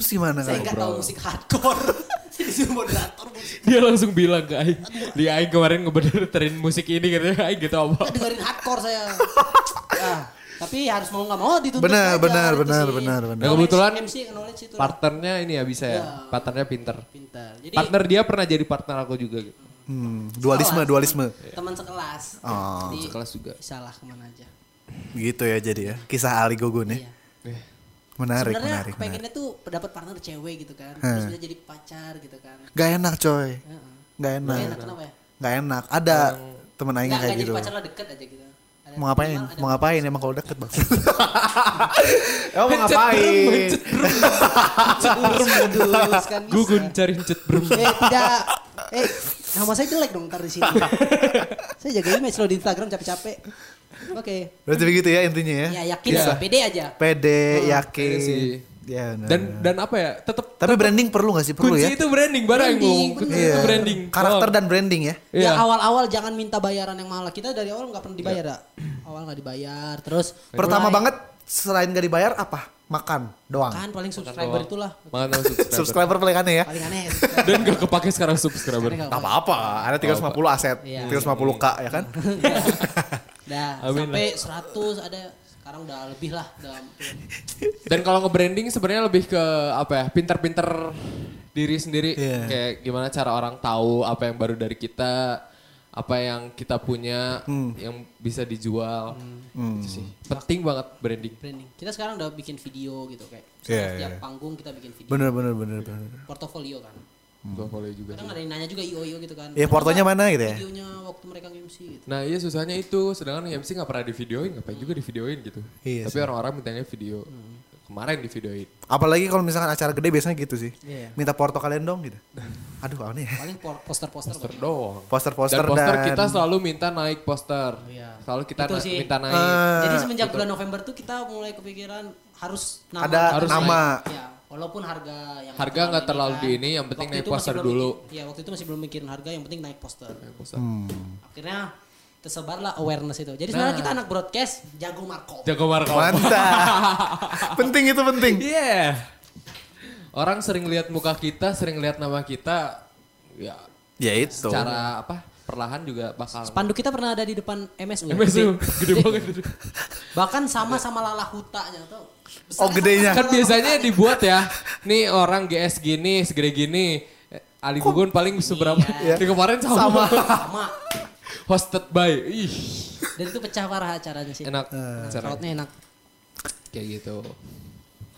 S1: Terus gimana
S3: saya
S1: kan?
S3: nggak tahu musik hardcore. Saya disuruh moderator musik.
S2: Dia langsung bilang ke Aing, di Aing kemarin ngebenerin musik ini katanya Aing gitu
S3: Nggak
S2: apa.
S3: dengerin hardcore saya. Ah, tapi harus mau nggak mau dituntut
S1: Benar,
S3: aja,
S1: benar,
S3: itu
S1: benar,
S3: sih.
S1: benar, benar.
S2: Ya, kebetulan
S3: MC knowledge itu lah.
S2: Partnernya ini ya bisa ya, partnernya pinter.
S3: pintar. Jadi
S2: Partner dia pernah jadi partner aku juga gitu.
S1: Hmm, dualisme,
S3: sekelas,
S1: dualisme.
S3: teman- Teman sekelas.
S1: Oh.
S3: Jadi
S2: Sekelas juga.
S3: Salah kemana aja.
S1: Gitu ya jadi ya. Kisah Ali Gogun ya.
S3: Iya.
S1: Menarik,
S3: Sebenarnya
S1: menarik, menarik.
S3: pengennya tuh dapat partner cewek gitu kan.
S1: Hmm.
S3: Terus bisa jadi pacar gitu kan.
S1: Gak enak coy.
S3: Heeh.
S1: Gak
S3: Nggak
S1: enak.
S3: enak kenapa ya?
S1: Gak enak. Ada temen aing
S3: Nggak
S1: kayak
S3: nggak jadi
S1: gitu.
S3: pacar lah deket aja gitu. Ada
S1: Mau ngapain? Mau ngapain emang kalau deket bang? emang mau ngapain?
S3: Terus kan bisa.
S2: Gugun cari cut bro.
S3: Eh tidak. Eh nama saya jelek dong ntar di sini. saya jaga image lo di Instagram capek-capek. Oke.
S1: Berarti begitu ya intinya ya?
S3: Ya yakin
S2: Iya.
S3: lah, pede aja.
S1: Pede, yakin.
S2: pede sih.
S1: Ya, benar.
S2: Dan dan apa ya? Tetap
S1: Tapi branding perlu gak sih? Perlu
S2: kunci
S1: ya?
S2: itu branding barang yang
S3: Branding,
S2: ngomong. Kunci
S1: Iya.
S2: itu branding.
S1: Karakter
S2: Oh.
S1: dan branding ya?
S2: Iya.
S3: Ya awal-awal jangan minta bayaran yang mahal. Kita dari awal nggak pernah dibayar. Dak. Awal nggak dibayar. Terus
S1: Iya. Pertama
S3: mulai-
S1: banget selain gak dibayar apa? Makan doang.
S3: kan Iya. paling subscriber itulah
S2: Makan sama subscriber.
S1: Subscriber paling aneh ya?
S3: paling aneh.
S2: dan gak kepake sekarang subscriber.
S3: Karena nggak
S1: Gak apa-apa, ada 350 aset,
S3: Iya.
S1: 350k ya kan?
S3: Dah,
S2: Amin
S3: sampai 100 ada sekarang udah lebih lah dalam
S2: Dan kalau nge-branding sebenarnya lebih ke apa ya? Pinter-pinter diri sendiri.
S1: Iya.
S2: Kayak gimana cara orang tahu apa yang baru dari kita, apa yang kita punya
S1: Hmm.
S2: yang bisa dijual.
S3: Hmm.
S2: Itu sih. Penting banget branding.
S3: branding. Kita sekarang udah bikin video gitu kayak
S1: Iya,
S3: setiap
S1: iya.
S3: panggung kita bikin video.
S1: Bener, bener, bener, bener.
S3: Portofolio kan.
S2: Gua follow juga.
S3: Kadang ada yang nanya juga IO IO gitu kan.
S1: Ya, portonya
S3: Kenapa
S1: mana gitu ya?
S3: Videonya waktu mereka MC gitu.
S2: Nah iya susahnya itu, sedangkan MC nggak pernah divideoin, ngapain juga divideoin gitu.
S1: Iya
S2: Tapi orang-orang mintanya video, kemarin divideoin.
S1: Apalagi kalau misalkan acara gede biasanya gitu sih. Minta porto kalian dong gitu. Aduh aneh ya.
S3: Paling por- poster-poster
S2: Poster
S3: paling.
S2: doang.
S1: Poster-poster
S2: dan poster
S1: dan-
S2: kita selalu minta naik poster. Selalu kita
S3: Iya. Itu
S2: na-
S3: sih.
S2: minta naik.
S1: Iya, Ah.
S3: Jadi semenjak bulan November tuh kita mulai kepikiran harus nama.
S1: Ada
S2: Harus
S1: nama.
S3: naik. Ya, walaupun harga yang kan.
S2: Harga nggak terlalu di ini, yang penting naik poster dulu. Hmm.
S3: Iya, waktu itu masih belum mikirin harga, yang penting naik poster.
S2: Naik poster.
S1: Hmm.
S3: Akhirnya tersebarlah awareness itu.
S2: Nah.
S3: Jadi sebenarnya kita anak broadcast, jago markom.
S2: Jago Markom.
S1: Mantap. penting itu penting.
S2: Yeah. Iya. Orang sering lihat muka kita, sering lihat nama kita, ya
S1: Ya itu.
S2: secara apa? Perlahan juga bakal.
S3: Spanduk kita pernah ada di depan MSU.
S2: MSU gede banget.
S3: Bahkan sama sama lala hutanya tuh.
S1: Oh gedenya.
S2: kan biasanya dibuat ya. Nih orang GS gini, segede gini. Eh, Ali Gugun paling seberapa?
S1: Iya.
S2: Di kemarin sama.
S3: Sama.
S2: Hosted by. Ih,
S3: Dan itu pecah parah acaranya sih.
S2: enak. Acara.
S3: Crowdnya enak.
S2: Kayak gitu.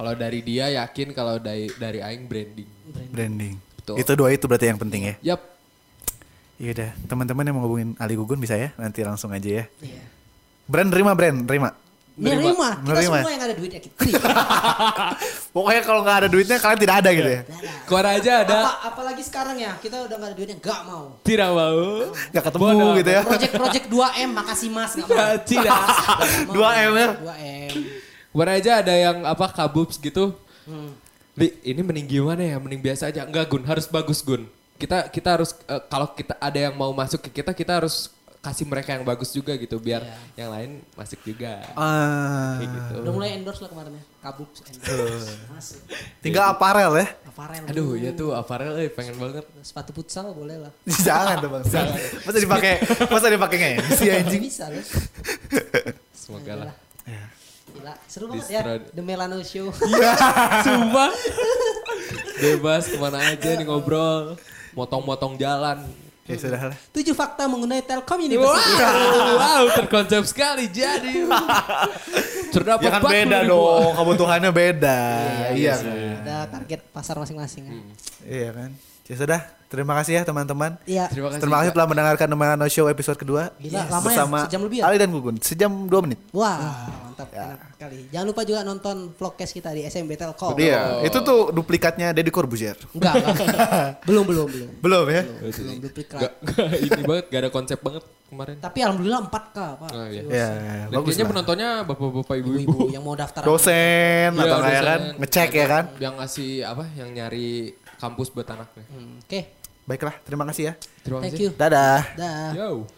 S2: Kalau dari dia yakin kalau dari dari aing branding.
S1: Branding.
S2: Betul.
S1: Itu dua itu berarti yang penting ya.
S2: Yap.
S1: Iya udah, teman-teman yang mau ngubungin Ali Gugun bisa ya, nanti langsung aja ya.
S3: Iya.
S1: Brand terima brand, terima.
S3: Nerima. Kita
S1: Nerima.
S3: semua yang ada duitnya kita. terima.
S1: Pokoknya kalau nggak ada duitnya kalian tidak ada gitu ya.
S2: Iya. Keluar aja ada.
S3: Apa, apalagi sekarang ya, kita udah gak ada duitnya, gak mau.
S2: Tidak mau.
S1: Nggak ketemu
S2: Bodoh.
S1: gitu ya.
S3: Project-project 2M, makasih mas, gak mau.
S2: Tidak.
S1: 2M ya.
S3: 2M.
S2: Kemarin aja ada yang apa kabubs gitu.
S3: Hmm.
S2: Li, ini mending gimana ya? Mending biasa aja. Enggak Gun, harus bagus Gun. Kita kita harus eh, kalau kita ada yang mau masuk ke kita, kita harus kasih mereka yang bagus juga gitu biar yang lain masuk juga.
S1: Iya. Ah,
S2: Kayak gitu.
S3: Udah mulai endorse lah kemarin ya. Kabuk endorse.
S1: Eh.
S3: Masuk.
S2: Iya.
S1: tinggal aparel ya.
S3: Aparel.
S2: Aduh, ya tuh aparel eh, pengen banget.
S3: Sepatu futsal boleh lah.
S1: Jangan dong bang. Jangan. Masa dipakai, masa dipakai nggak ya?
S3: Iya,
S1: Si anjing.
S3: Bisa loh.
S2: Semoga lah.
S3: Gila. Seru banget ya.
S2: Distro.
S3: The Melano Show.
S1: Iya.
S2: Sumpah. Bebas kemana aja nih ngobrol. Motong-motong jalan.
S1: Ya sudah lah.
S3: Tujuh fakta mengenai Telkom
S2: Wow,
S3: University.
S2: wow, terkonsep sekali jadi. Terdapat
S1: Ya kan beda
S2: 40 ribuan.
S1: dong, kebutuhannya beda. Iya kan.
S3: Ada target pasar masing-masing. ya.
S2: Hmm.
S1: Iya kan. Ya sudah, terima kasih ya teman-teman.
S3: Iya.
S2: Terima kasih.
S1: Terima kasih telah mendengarkan Nemangan No Show episode kedua. Yes.
S3: Gila, lama ya,
S1: Bersama
S3: sejam lebih ya?
S1: Ali dan Gugun. Sejam dua menit.
S3: Wah, mantap.
S2: ya.
S3: Enak sekali. Jangan lupa juga nonton vlogcast kita di SMB Telkom.
S1: Iya, itu tuh duplikatnya Deddy Corbuzier.
S3: Enggak, enggak. belum, belum, belum.
S1: Belum ya?
S3: Belum duplikat.
S2: Gak, gak ini banget, gak ada konsep banget kemarin.
S3: Tapi alhamdulillah 4K, Pak.
S2: Oh,
S1: Iya,
S2: iya. Dan
S1: bagus
S2: kayaknya
S1: lah. iya.
S2: penontonnya bapak-bapak ibu-ibu.
S3: Ibu yang mau daftar.
S1: Dosen
S2: Iya,
S1: atau nggak ya
S2: dosen.
S1: kan? Ngecek ya kan?
S2: Yang ngasih apa, yang nyari kampus buat anaknya.
S3: Hmm, Oke.
S1: Baiklah, terima kasih ya.
S2: Terima
S3: Thank
S2: kasih.
S3: you.
S1: Dadah.
S3: Dah.
S2: Yo.